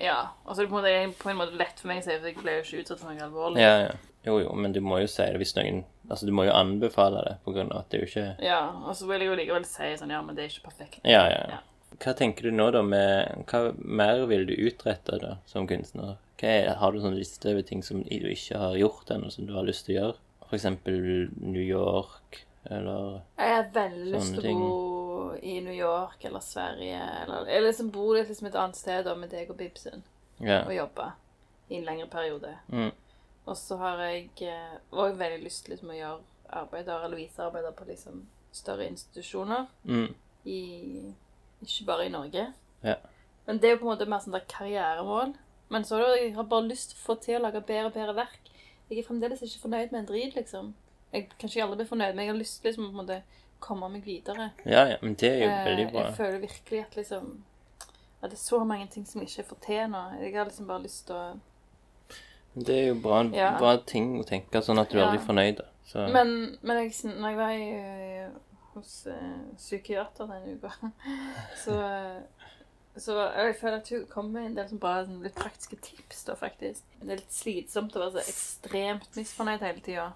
ja. Og så er det på en måte, er på en måte lett for meg å si, for jeg ble jo ikke utsatt for noe alvorlig. Ja, ja. Jo, jo, men du må jo si det hvis noen Altså, du må jo anbefale det, på grunn av at det er jo ikke Og så vil jeg jo likevel si sånn, ja, men det er ikke perfekt. Ja, ja. ja. Hva tenker du nå, da, med Hva mer vil du utrette, da, som kunstner? Hva er, har du sånn liste over ting som du ikke har gjort ennå, som du har lyst til å gjøre? For eksempel New York, eller Jeg har veldig lyst Sånne til å ting. bo i New York eller Sverige, eller, eller liksom bo litt liksom et annet sted da, med deg og Bibsen. Ja. og jobbe i en lengre periode. Mm. Og så har jeg eh, også veldig lyst til liksom, å gjøre arbeider, eller vise arbeider på liksom, større institusjoner. Mm. I, ikke bare i Norge. Ja. Men det er jo på en måte mer sånn der karrieremål. Men så har jeg har bare lyst til å få til å lage bedre og bedre verk. Jeg er fremdeles ikke fornøyd med en drit, liksom. Jeg kanskje aldri blir fornøyd, men jeg har lyst til liksom, å på en måte komme meg videre. ja, ja. Men det er jo Eh, veldig bra. Jeg føler virkelig at liksom at det er så mange ting som jeg ikke fortjener. Jeg har liksom bare lyst til å Det er jo bra, Ja. bra ting å tenke, sånn at du Ja. aldri er fornøyd. da. Så, Men, men jeg, sn- når jeg var i, eh, hos eh, psykiater denne uka, så, eh, så jeg føler at hun kom med en del sånn bra, sånn, litt praktiske tips. da, faktisk. Det er litt slitsomt å være så ekstremt misfornøyd hele tida.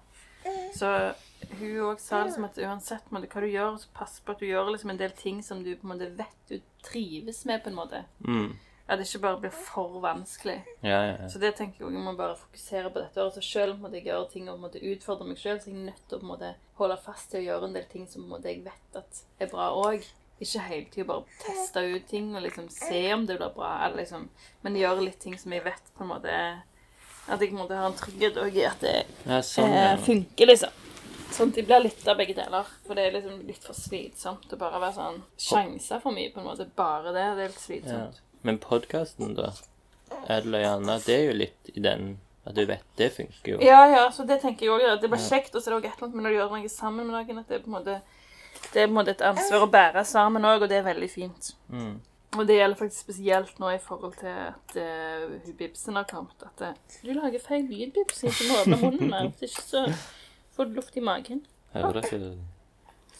Så hun òg sa liksom at uansett på en måte, hva du gjør, så pass på at du gjør liksom en del ting som du på en måte vet du trives med. på en måte. mm. At det ikke bare blir for vanskelig. Ja, ja, ja. Så det tenker jeg også, jeg må bare fokusere på dette året. Så selv om jeg gjør ting og på en måte utfordrer meg selv, så er jeg nødt til å på en måte holde fast til å gjøre en del ting som på en måte jeg vet at er bra òg. Ikke hele tiden bare teste ut ting og liksom se om det blir bra, eller liksom, men gjøre litt ting som jeg vet på en måte er- At jeg på en måte har en trygghet òg i at det ja sånn, ja. eh, funker, liksom. Sånn at det blir litt av begge deler. For det er liksom litt for slitsomt å bare være sånn sjanser for mye, på en måte. Bare det. Det er litt ja. slitsomt. Men podkasten, da? Edel og Janne, det er jo litt i den at du vet det funker jo. Ja, ja, så det tenker jeg også, at Det blir kjekt, og så er det også et eller annet med når du gjør noe sammen med noen, at det er på en måte, det er på en måte et ansvar å bære sammen òg, og det er veldig fint. Mm. Og det gjelder faktisk spesielt nå i forhold til at eh, hun Bibsen har kommet. At eh, du lager feil lyd, Bibsen, så må du åpne munnen mer. Hvis ikke så får du luft i magen. Hører dere ikke?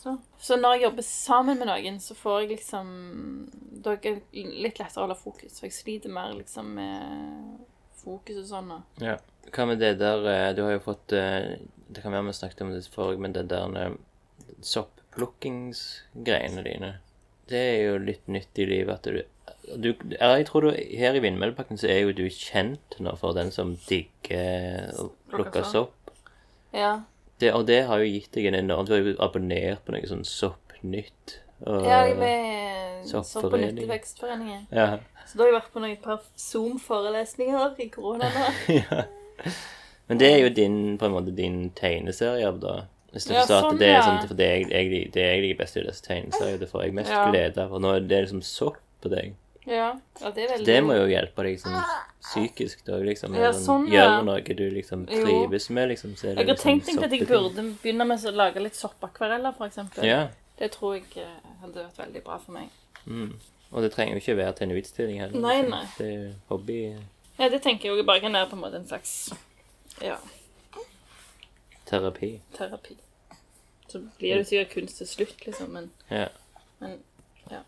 Så. så når jeg jobber sammen med noen, så får jeg liksom Da er det litt lettere å holde fokus, for jeg sliter mer liksom med fokus og sånn. og- Ja. Hva med det der eh, Du har jo fått eh, Det kan være vi snakket om det forrige, men det der eh, soppplukkingsgreiene dine Det er jo litt nytt i livet at du du, ja, jeg tror du, Her i Vindmølleparken så er jo du kjent nå for den som digger å plukke Plukker sopp. sopp. Ja. Det, og det har jo gitt deg en enorm Du har jo abonnert på noe sånn Soppnytt. Og, Ja, jeg eh, er med Soppforening. Sopp- og nyttevekstforeningen. ja, Så da har jeg vært på noen par Zoom-forelesninger i korona nå. Men det er jo din, på en måte din tegneserie, da. Hvis du Ja, forstår sånn, at det er ja. sånn, for det jeg, jeg, det jeg liker best i disse tegneseriene, det får jeg mest Ja. glede av. Og nå er det liksom sopp på deg. Ja, ja det er veldig Det må jo hjelpe deg sånn psykisk. Da, liksom, Ja, Eller sånn, Gjør ja. noe du liksom Jo. trives med, liksom. Så er det Jeg har liksom tenkt egentlig at jeg soppeting. burde begynne med å lage litt soppakvareller, for eksempel. Ja. Det tror jeg eh, hadde vært veldig bra for meg. Mm. Og det trenger jo ikke være til en utstilling heller. Nei, liksom. nei. Det er jo hobby. Ja, det tenker jeg jo bare kan være på en måte en slags ja, Terapi. terapi. Så blir det sikkert kunst til slutt, liksom, men Ja. Men, ja.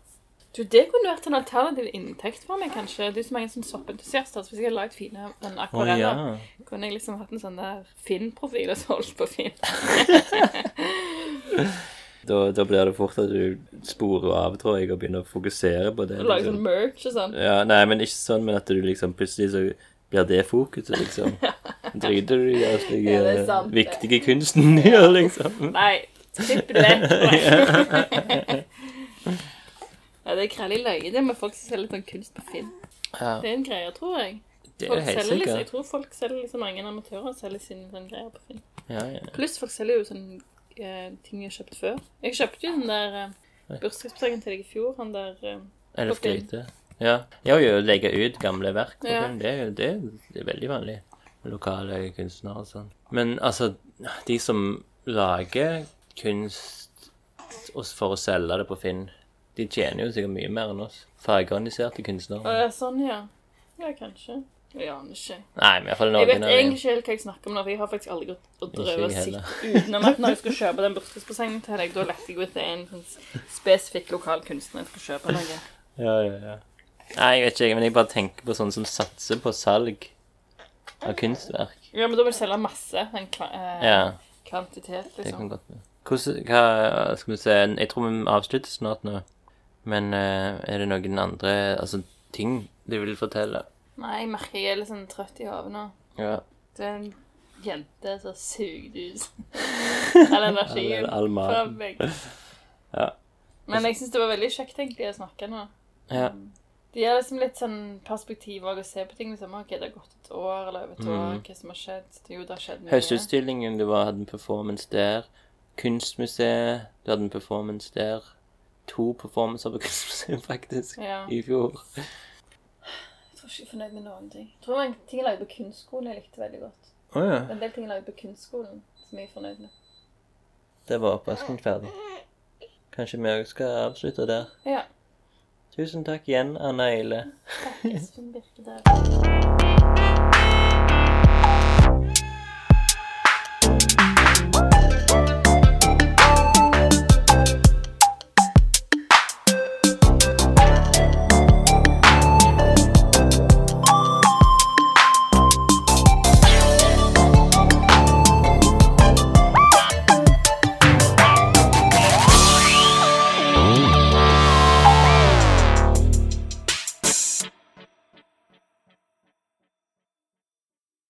Du, det kunne vært en alternativ inntekt for meg, kanskje. Det er så mange sånn soppentusiaster. Så hvis jeg hadde lagd fine sånn Å ja. akvareller, kunne jeg liksom hatt en sånn der Finn-profil og solgt på Finn. Da, da blir det fort at du sporer av, tror jeg, og begynner å fokusere på det. Og lage sånn merch og sånn. Ja, nei, men ikke sånn, men at du liksom plutselig så blir det fokuset, liksom. Driter du i all den Ja, det er sant, det. viktige kunsten du gjør, liksom. Nei, klipp det vekk. tror jeg. Ja, det er krallig løye, det med folk som selger sånn kunst på Finn. Ja, Det er en greie, tror jeg. det er Folk jo helt selger, liksom, jeg sikkert. tror folk selger liksom mange amatører selger sine sånne greier på Finn. Ja, ja. Pluss folk selger jo sånne eh, ting jeg har kjøpt før. Jeg kjøpte jo den der eh, bursdagspresangen til deg i fjor, han der eh, Eller På Finn. skryte. Ja. ja, og jo, legge ut gamle verk på Ja. Finn, det, er jo- det, er- det er veldig vanlig. Lokale kunstnere og sånn. Men altså, de som lager kunst og s- for å selge det på Finn, de tjener jo sikkert mye mer enn oss. Fagorganiserte Å, kunstnere. ja, sånn, ja. Ja, kanskje. Jeg aner ikke. Nei, men iallfall Jeg noen vet av egentlig dem. ikke helt hva jeg snakker om nå, for jeg har faktisk aldri gått og Ikke drøvet jeg sitt utenom at når jeg skulle kjøpe den bursdagspresangen til deg, da lette jeg etter en sånn spesifikk lokal kunstner jeg skulle kjøpe noe. Ja, ja, ja. Nei, jeg vet ikke, men jeg bare tenker på sånne som satser på salg av kunstverk. Ja, men da vil du selge masse. En kva eh, Ja. kvantitet, Det kan liksom. godt være. Hvordan, hva skal vi se Jeg tror vi avslutter snart nå. Men eh, er det noen andre altså, ting du vil fortelle? Nei, jeg merker jeg er litt sånn trøtt i hodet nå. Ja. Det er en jente som sugde ut all energien All- all fra maten. meg. Ja. Men jeg syns det var veldig kjekt egentlig å snakke nå. ja. Det gir liksom litt sånn perspektiv også, å se på ting liksom, ok, det har gått et år eller over et år, hva som har skjedd. Jo, det har skjedd mye. Høstutstillingen, du var, hadde en performance der. Kunstmuseet, du hadde en performance der. To performancer på Kunstmuseet, faktisk, Ja. i fjor. Jeg tror ikke jeg er fornøyd med noen ting. Jeg tror det var en ting jeg lagde på kunstskolen jeg likte veldig godt. Å ja. En del ting jeg lagde på kunstskolen som jeg er fornøyd med. Det var oppvasken ferdig. Kanskje vi òg skal avslutte der. Ja. Tusen takk igjen, Anna Eile. Espen Birkedal.